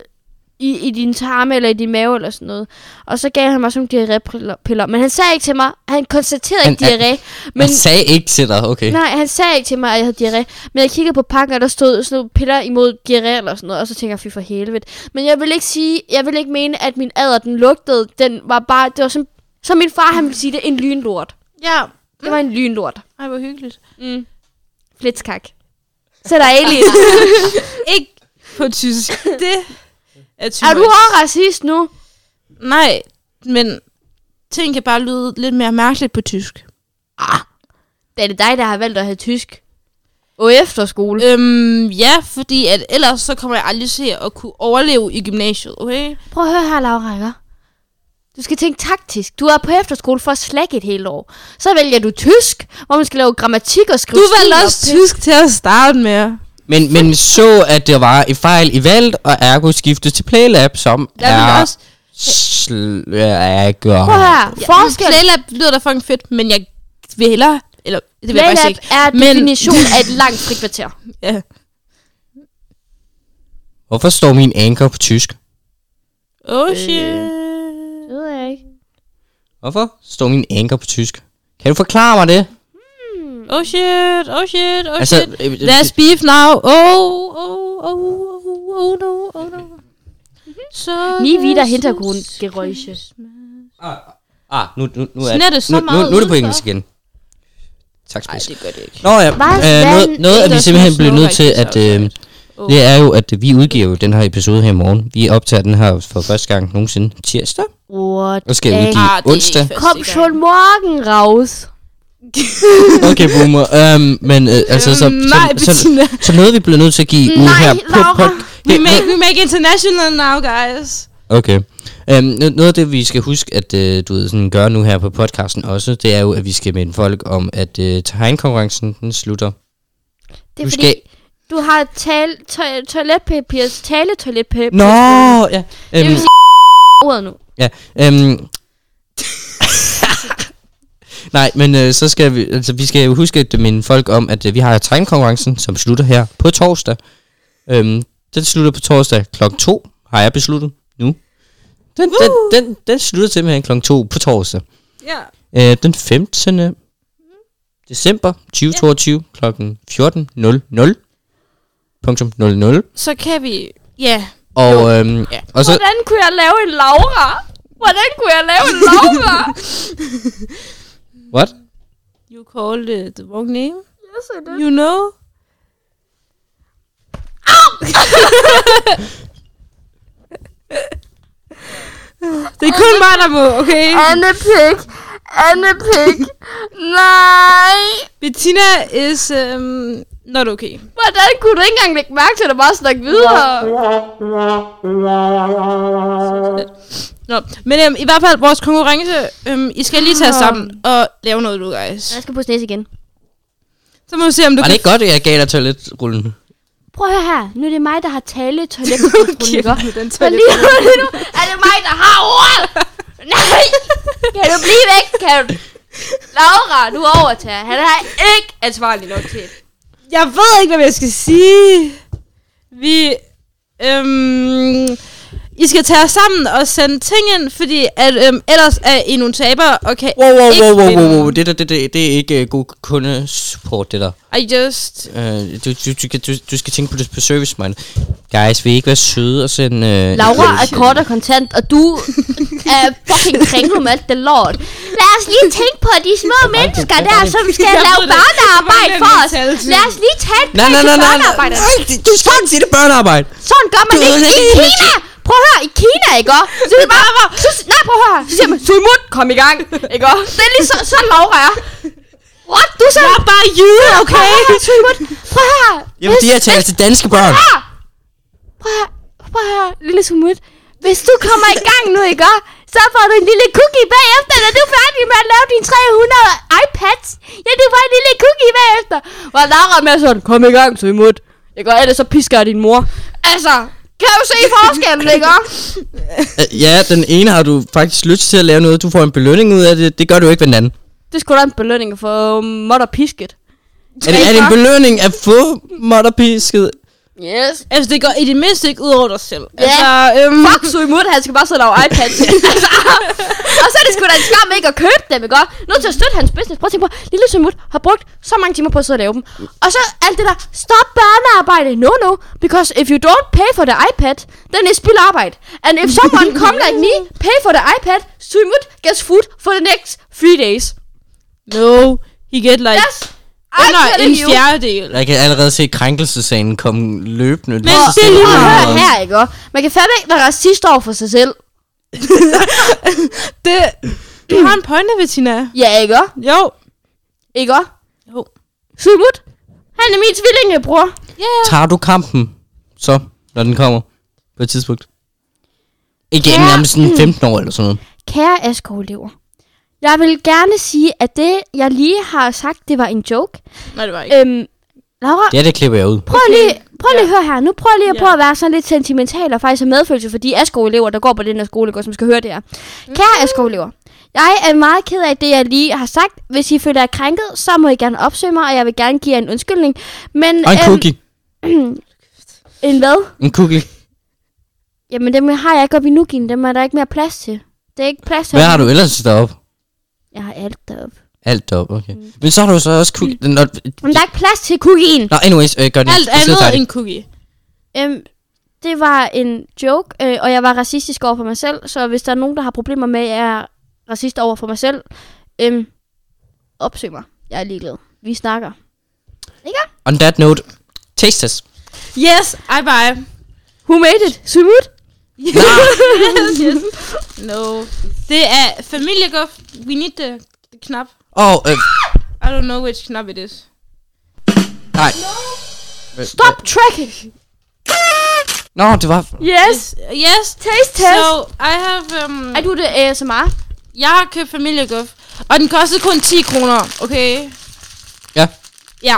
i, i din tarme eller i din mave eller sådan noget. Og så gav han mig sådan nogle diarrépiller. Men han sagde ikke til mig, han konstaterede
Han-
ikke diarré.
Men...
Men,
Jeg sagde ikke til dig,
Øh.
okay.
nej, han sagde ikke til mig, at jeg havde diarré. Men jeg kiggede på pakken, og der stod sådan nogle piller imod diarré eller sådan noget. Og så tænkte jeg, fy for helvede. Men jeg vil ikke sige, jeg vil ikke mene, at min adder, den lugtede. Den var bare, det var som, som min far, han ville sige det, en lynlort.
Ja.
Det var en lynlort.
Ej, hvor hyggeligt.
Mm. Flitskak. Så er der
[LAUGHS]
aliens.
Ikke på [LAUGHS] tysk. Det er tysk.
er du også racist nu?
Nej, men ting kan bare lyde lidt mere mærkeligt på tysk.
Det er det dig, der har valgt at have tysk. Og efterskole.
Øhm, ja, fordi at ellers så kommer jeg aldrig til at kunne overleve i gymnasiet, okay?
Prøv at høre her, Laura, ikke? Du skal tænke taktisk. Du er på efterskole for at slække et helt år. Så vælger du tysk, hvor man skal lave grammatik og skrive
Du valgte
stil
også
op.
tysk til at starte med.
Men, men så, at der var en fejl i valget, og ergo skiftes til Playlab, som
Jeg ville
er...
også...
Sl- er
Prøv at høre.
Ja,
Forskel.
Playlab lyder da fucking fedt, men jeg vil hellere... Eller, det vil jeg faktisk
Playlab
ikke.
er
Men-
definition af et langt frikvarter.
Ja.
Hvorfor står min anker på tysk?
Oh shit.
Det ved jeg ikke.
Hvorfor står min anker på tysk? Kan du forklare mig det?
Oh shit, oh shit, oh
Altså,
shit.
øh, øh,
There's beef now. Oh, oh, oh, oh, oh no, oh no. Så
Nie wieder Hintergrundgeräusche.
Ah, nu, nu, nu, er,
Sådan er det så
nu, nu,
meget
nu er det på
udenfor.
engelsk igen. Tak,
Nej,
Spids.
det gør det ikke.
Nå ja,
Hvad?
øh, noget, noget af vi
Ellers
simpelthen
bliver
blev nødt til
Snorre
at...
rigtig
Øh,
Åh.
det er jo, at vi udgiver jo den her episode her i morgen. Vi optager den her for første gang nogensinde tirsdag.
What
Og skal
the-
udgive
Ah, det er
onsdag.
ikke
Kom
første
schon morgen raus.
Okay, boomer. Um, men øh, altså, så,
Øhm, nej,
så, så,
Bettina.
så noget, vi bliver nødt til at give ud
Nej,
her
Laura.
på... på
We make, we make international now, guys.
okay. Um, noget af det, vi skal huske, at øh, du ved, sådan, gøre nu her på podcasten også, det er jo, at vi skal minde folk om, at øh, tegnkonkurrencen den slutter.
Det
Du
er
skal-
fordi, du har tal- to- toiletpapirs tale toiletpapir.
Nå, ja.
Det
Um,
vil sige ordet nu.
ja um, [LAUGHS] Nej, men øh, så skal vi, altså, vi skal jo huske at minde folk om, at øh, vi har tegnkonkurrencen, som slutter her på torsdag. Øhm, den slutter på torsdag klokken 2, har jeg besluttet nu. Den, den, den, den slutter simpelthen klokken 2 på torsdag.
Ja.
Øh, den 15. december 2022 klokken 14.00. Punktum 00.
Så kan vi... Ja.
Og, øhm,
Ja.
og så,
Hvordan kunne jeg lave en Laura? Hvordan kunne jeg lave en Laura?
what?
You called it the wrong name.
yes, I did.
You know? [LAUGHS] det er kun mig, der må, okay?
Anne Pig. Anne Pig. Nej.
Bettina is um, not okay.
Hvordan kunne du ikke engang lægge mærke til, at du bare snakke videre?
Nå. Men um, i hvert fald, vores konkurrence, um, I skal lige tage jer sammen og lave noget, du guys.
Jeg skal på snæs igen.
Så må vi se, om du
Var det
kan...
ikke godt, at jeg gav dig toiletrullen?
Prøv at høre her. Nu er det mig, der har tale [LAUGHS] toiletpapirsrullen, ikke?
med den
Men lige nu, lige nu er det mig, der har ordet. [LAUGHS] Nej. Kan du blive væk? Kan du? Laura, du overtager. Han er ikke ansvarlig nok til.
Jeg ved ikke, hvad jeg skal sige. Vi... Øhm, I skal tage jer sammen og sende ting ind, fordi at, øhm, ellers er I nogle tabere og kan
Wow, wow,
ikke
wow, wow,
vinde.
wow, wow. Det, der, det, det, det er ikke uh, god kundesupport, det der.
I just...
Uh, du, du, du, kan- du, du skal tænke på det på service, man. Guys, vil I ikke være søde og sende... Uh,
Laura er kort og kontant, og du er fucking kringlet med alt det lort. Lad os lige tænke på de små mennesker der, som skal
Jeg
lave
ved det.
børnearbejde
Det var
for
nemt at
os.
tale til.
Lad os lige tage et
Nej, nej, nej, nej, nej,
børnearbejde.
nej, du skal ikke sige det er børnearbejde.
Sådan gør man
Du
ikke
ved
i
ikke.
Kina. Prøv at høre, i Kina, ikke også? Så er det bare, så, nej, prøv at høre. Så siger man, Sulmut, kom i gang, ikke også? Det er lige så, så Laura er. What? Du sagde... Jeg er bare jyde, okay? Sulmut, prøv at høre.
Jamen, de her taler til danske børn.
Prøv at, prøv at høre, lille Sumut. Hvis du kommer i gang nu, ikke? også? Så får du en lille cookie bagefter, når du er færdig med at lave dine 300 iPads. Ja, du får en lille cookie bagefter. Hvor Laura er mere
altså,
sådan, kom i gang, Sumut. Ikke? også? Ellers så pisker jeg din mor. Altså, kan du se forskellen, ikke? også?
Uh, ja, den ene har du faktisk lyst til at lave noget. Du får en belønning ud af det. Det gør du ikke ved den anden.
Det skulle da en belønning um, for mod og pisket.
Er det, er det en belønning at få modderpisket?
Yes.
Altså, det går i det mindste ikke ud over dig selv.
Ja.
Altså, øhm,
Fuck, så imod, han skal bare sidde og lave [LAUGHS] iPads. altså, og så er det sgu da en skam ikke at købe dem, ikke? også? Nødt til at støtte hans business. Prøv at tænke på, lille Sumut har brugt så mange timer på at sidde og lave dem. Og så alt det der, stop børnearbejde. No, no. Because if you don't pay for the iPad, then it's spild arbejde. And if someone come like me, pay for the iPad, Sumut gets food for the next three days.
No, he get like
Yes, I'm
under en
telling you.
fjerdedel.
Jeg kan allerede se krænkelsesagen komme løbende. Men
det er lige
Og
meget.
hør her, ikke? også? Man kan fandme ikke være racist over for sig selv.
Det, du har en pointe, Bettina.
Ja, ikke? også?
Jo.
Ikke? også?
Jo.
Sumut, han er min tvillingebror.
Yeah.
Tager du kampen, så, når den kommer, på et tidspunkt? Igen,
Ja.
ja. nærmest sådan 15 år eller sådan noget.
Kære asko jeg vil gerne sige, at det, jeg lige har sagt, det var en joke.
Nej, det var ikke.
Øhm, Laura,
Ja, det klipper jeg ud.
prøv lige, prøv lige at høre her. Nu prøv lige at
Ja.
prøve at være sådan lidt sentimental og faktisk have medfølelse for de asko der går på den her skole, ikke, og som skal høre det her. Kære asko jeg er meget ked af det, jeg lige har sagt. Hvis I føler jer krænket, så må I gerne opsøge mig, og jeg vil gerne give jer en undskyldning. Men, øhm,
Og en cookie.
en hvad?
En cookie.
Jamen, dem har jeg ikke op i nugien. Dem er der ikke mere plads til. Det er ikke plads til.
Hvad har du ellers deroppe?
Jeg har alt deroppe.
Alt deroppe, okay.
Mm.
Men så har du så også cookie. Mm. Nå,
Men der er ikke plads til cookien.
nå, anyways, øh, gør det.
Alt
Det sidder
andet
dejligt.
end cookie.
Øhm, det var en joke, øh, og jeg var racistisk over for mig selv, så hvis der er nogen, der har problemer med, at jeg er racist over for mig selv, øhm, opsøg mig. Jeg er ligeglad. Vi snakker.
On that note, taste test.
Yes, I bye.
Who made it? Sumut?
yes, [LAUGHS] yes. No. Det er familieguff. We need the, the knap.
Og, øh,
I don't know which knap it is.
nej.
Stop tracking!
Nå, det var...
Yes!
uh, Yes.
Taste test!
So, I have... Um,
Er du det øh, ASMR?
jeg har købt familieguff. Og den kostede kun 10 kroner, okay?
Ja.
Ja.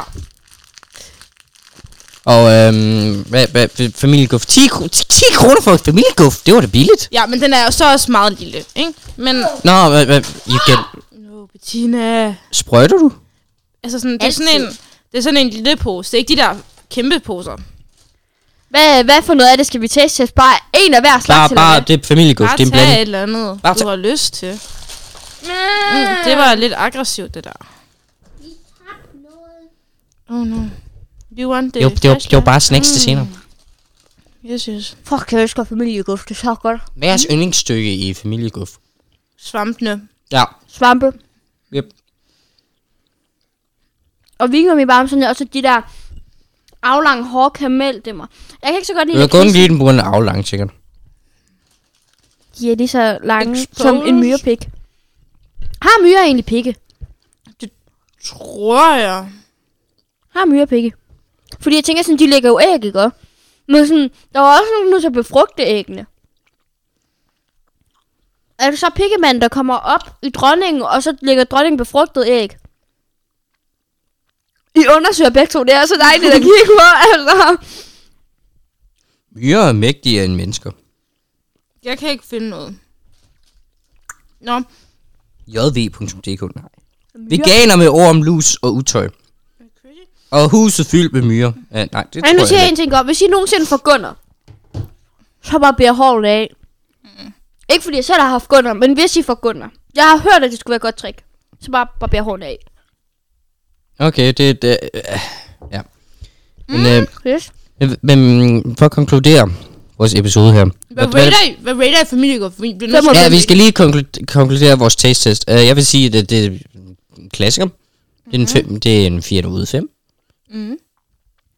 Og, øhm, hvad, hvad, familieguff. 10, kro- 10, 10 kroner for et familieguff, det var da billigt.
Ja, men den er jo så også meget lille, ikke? Men...
Nå, hvad, hvad, you get...
No, Bettina.
Sprøjter du?
Altså sådan, det er sådan
Altid.
en, det er sådan en lille pose. Det er ikke de der kæmpe poser.
Hvad, hvad for noget af det skal vi taste test? Bare en af hver
Bare,
slags,
bare,
eller
det er familieguff,
Bare
det er en
tag et
blanding.
eller andet,
Bare
du
tag-
har lyst til.
hvad?
Mm, det var lidt aggressivt, det der. Oh no. You want the
Jo, det var, det var bare snacks til senere.
Yes, yes.
Fuck, jeg elsker familieguft. Det er så godt.
Hvad er jeres yndlingsstykke i familieguff?
Svampene.
Ja.
Svampe.
Yep.
Og vingummi bare sådan også de der aflange, hårde karameldimmer. Jeg kan ikke så godt
Du
lide
kan kun
lakrids.
lide den på grund af aflang, sikkert.
De er lige så lange
Exposed.
som en myrepik. Har myrer egentlig pikke?
Tror jeg.
Har myrer pikke? Fordi jeg tænker sådan, de lægger jo æg, ikke? også? Men sådan, der var også nogen, der så befrugte æggene. Er det så pikkemanden, der kommer op i dronningen, og så lægger dronningen befrugtet æg? I undersøger begge to, det er så dejligt at kigge på, [LAUGHS] altså.
Myrer er mægtigere end mennesker.
Jeg kan ikke finde noget. Nå,
jv.dk, nej. Veganer med ord om lus og utøj. Og huset fyldt med myrer. Ja, nej, det
Men nu
tror
siger
jeg ikke.
jeg en ting godt. Hvis I nogensinde får gunner, så bare bliver hårdt af. Ikke fordi jeg selv har haft gunner, men hvis I får gunner. Jeg har hørt, at det skulle være et godt trick. Så bare barber hårdt af.
Okay, det er... Øh, ja. Men, øh,
Yes.
men- men for at konkludere vores episode her.
hvad rater I? Hvad rater I familiegård? Vi bliver nødt
Fem
til-
og
Ja, vi skal lige konklu- konkludere vores taste test. Uh, jeg vil sige, at det, det er en klassiker. Det er en, fem, det er en 4 ud af 5. Mm.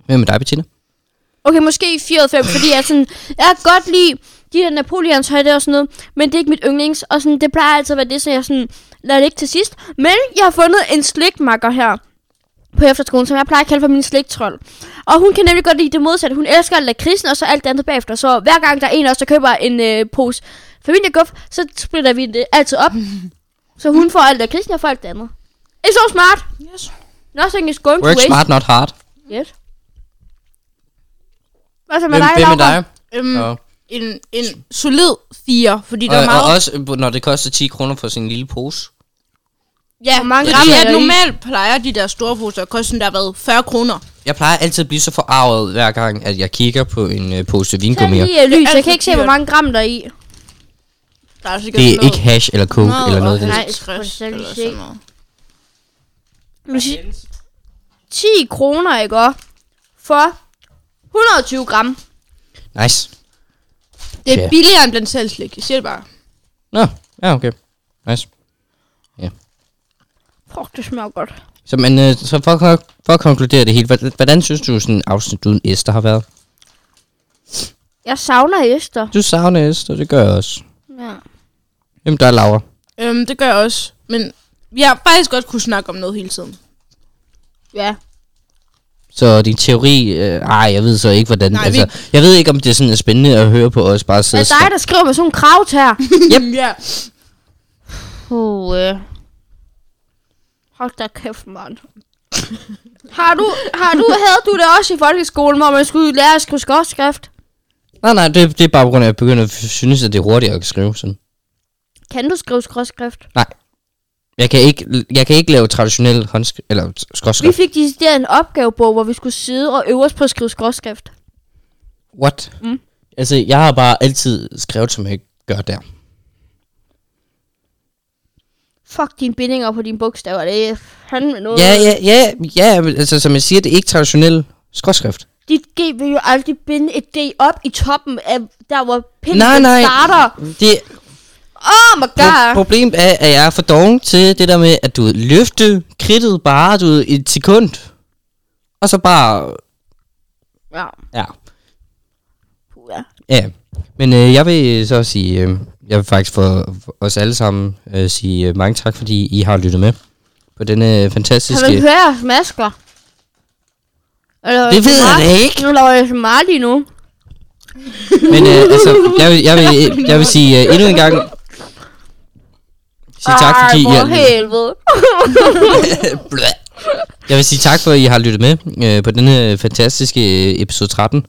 Hvem er dig, Bettina?
Okay, måske 4 ud af 5, fordi jeg, er sådan, jeg kan godt lide de der Napoleons højde og sådan noget, men det er ikke mit yndlings, og sådan, det plejer altid at være det, så jeg sådan, lader det ikke til sidst. Men jeg har fundet en slikmakker her på efterskolen, som jeg plejer at kalde for min sliktrold. Og hun kan nemlig godt lide det modsatte. Hun elsker lakridsen og så alt det andet bagefter. Så hver gang der er en af os, der køber en øh, pose familieguff, så splitter vi det altid op. Så hun får alt lakridsen, og jeg får alt det andet. It's so smart!
Yes.
Nothing is going
Work
to waste.
smart, not hard.
Yes. Hvad så med
Hvem,
dig,
hvem er
Laura?
dig?
Øhm,
Og,
en, en solid fire, fordi der er
og, og
meget...
også, øh, når det koster 10 kroner for sin lille pose.
Ja, Hvor mange
Det er
gram
fordi,
er
at
der i?
normalt plejer de der store poser at koste sådan der hvad, 40 kroner.
Jeg plejer altid at blive så forarvet, hver gang, at jeg kigger på en øh, pose
Tænd
vingummier.
lige øh, lys,
Det er
jeg kan ikke se,
alt for
hvor mange gram der er i.
Der er sikkert
Det er
sådan
ikke hash eller coke
noget
eller noget. af den
nej.
stil.
150
skal jeg lige
eller
se.
sådan noget.
Nu sig- 10 kroner, ikke også? For 120 gram.
Nice.
Det
Ja.
er billigere end blandt selv slik. Jeg siger det bare.
Nå, ja okay. Nice.
Fuck, det smager godt.
Så, men, øh, så for, at- for at konkludere det hele, hvordan, hvordan synes du, sådan afsnit uden Esther har været?
Jeg savner Esther.
Du savner Esther, det gør jeg også.
Ja.
Jamen, der er Laura.
Øhm, det gør jeg også. Men jeg har faktisk godt kunne snakke om noget hele tiden.
Ja.
Så din teori, øh, ej, jeg ved så ikke, hvordan...
Nej,
Nej, altså, jeg ved ikke, om det er sådan er spændende at høre på os bare
Det
sidde
er
og
dig,
snakke.
der skriver med sådan en krav her.
Yep. [LAUGHS] ja.
Puh, øh. [LAUGHS] Hold da kæft, mand. har du, har du, havde du det også i folkeskolen, hvor man skulle lære at skrive skorskrift?
Nej, nej, det, det er bare på grund af, at jeg begynder at synes, at det er hurtigere at skrive sådan.
Kan du skrive skorskrift?
Nej. Jeg kan ikke, jeg kan ikke lave traditionel håndskrift, eller
Vi
skråskrift.
fik decideret en opgavebog, hvor vi skulle sidde og øve os på at skrive skorskrift.
What? Mm. Altså, jeg har bare altid skrevet, som jeg gør der.
Fuck dine bindinger på dine bogstaver, det er fandme noget.
Ja, ja, ja, ja, men altså som jeg siger, det er ikke traditionel skråskrift.
Dit G vil jo aldrig binde et D op i toppen af der, hvor pinden
Nej, nej.
starter.
Det
Oh my
pro-
god.
problemet er, at jeg er for doven til det der med, at du løfte kridtet bare du ved, et sekund. Og så bare,
Ja.
ja,
Puh, ja.
ja. Men øh, jeg vil så sige, øh, jeg vil faktisk for, for os alle sammen øh, sige øh, mange tak, fordi I har lyttet med på denne øh,
Kan man
fantastiske...
høre jeres masker? Eller
Det ved jeg da ikke.
Nu laver jeg så meget lige nu.
Men øh, altså, jeg vil, jeg vil, jeg vil sige øh, endnu en gang... Sige tak, fordi
Ej,
I har
for helvede.
Blæh. Jeg vil sige tak for, at I har lyttet med øh, på denne fantastiske øh, episode 13,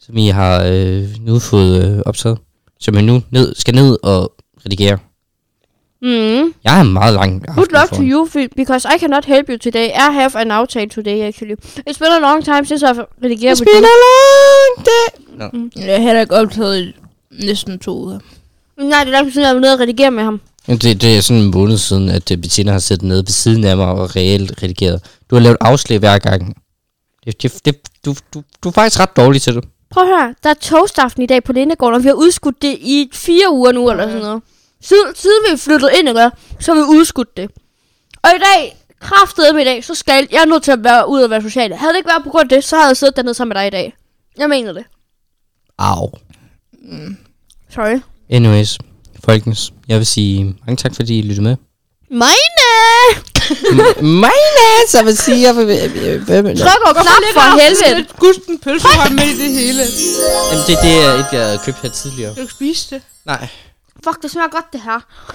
som I har øh, nu fået øh, optaget, som jeg nu ned, skal ned og redigere.
Mm.
Jeg er meget lang. aften
Good luck to
foran.
you, Phil, because I cannot help you today. I have an outtake today, actually. It's been a long time since I've redigeret
It's been a long day.
Jeg har heller ikke optaget i næsten to uger.
Nej, det er lang tid siden, jeg var nede og redigere med ham.
Jamen, Det, det er sådan en måned siden, at øh, Bettina har siddet nede ved siden af mig og reelt redigeret. Du har lavet afslag hver gang. Det, det, det, du, du, du er faktisk ret dårlig til det.
Prøv at høre, der er toastaften i dag på Lindegården, og vi har udskudt det i fire uger nu, eller sådan noget. Siden, siden vi flyttede ind, ikke, så har vi udskudt det. Og i dag, kraftedeme med i dag, så skal jeg er nødt til at være ud og være social. Havde det ikke været på grund af det, så havde jeg siddet dernede sammen med dig i dag. Jeg mener det.
Au.
Sorry.
Anyways, folkens, jeg vil sige mange tak, fordi I lyttede med.
Mine!
Mine, så vil sige, jeg vil, jeg vil, jeg vil, jeg vil,
Tryk og knap for helvede.
Gusten pølsehånd med i det hele.
Jamen, det, det er et, jeg købte her tidligere.
Du kan spise det.
Nej.
Fuck, det smager godt det her.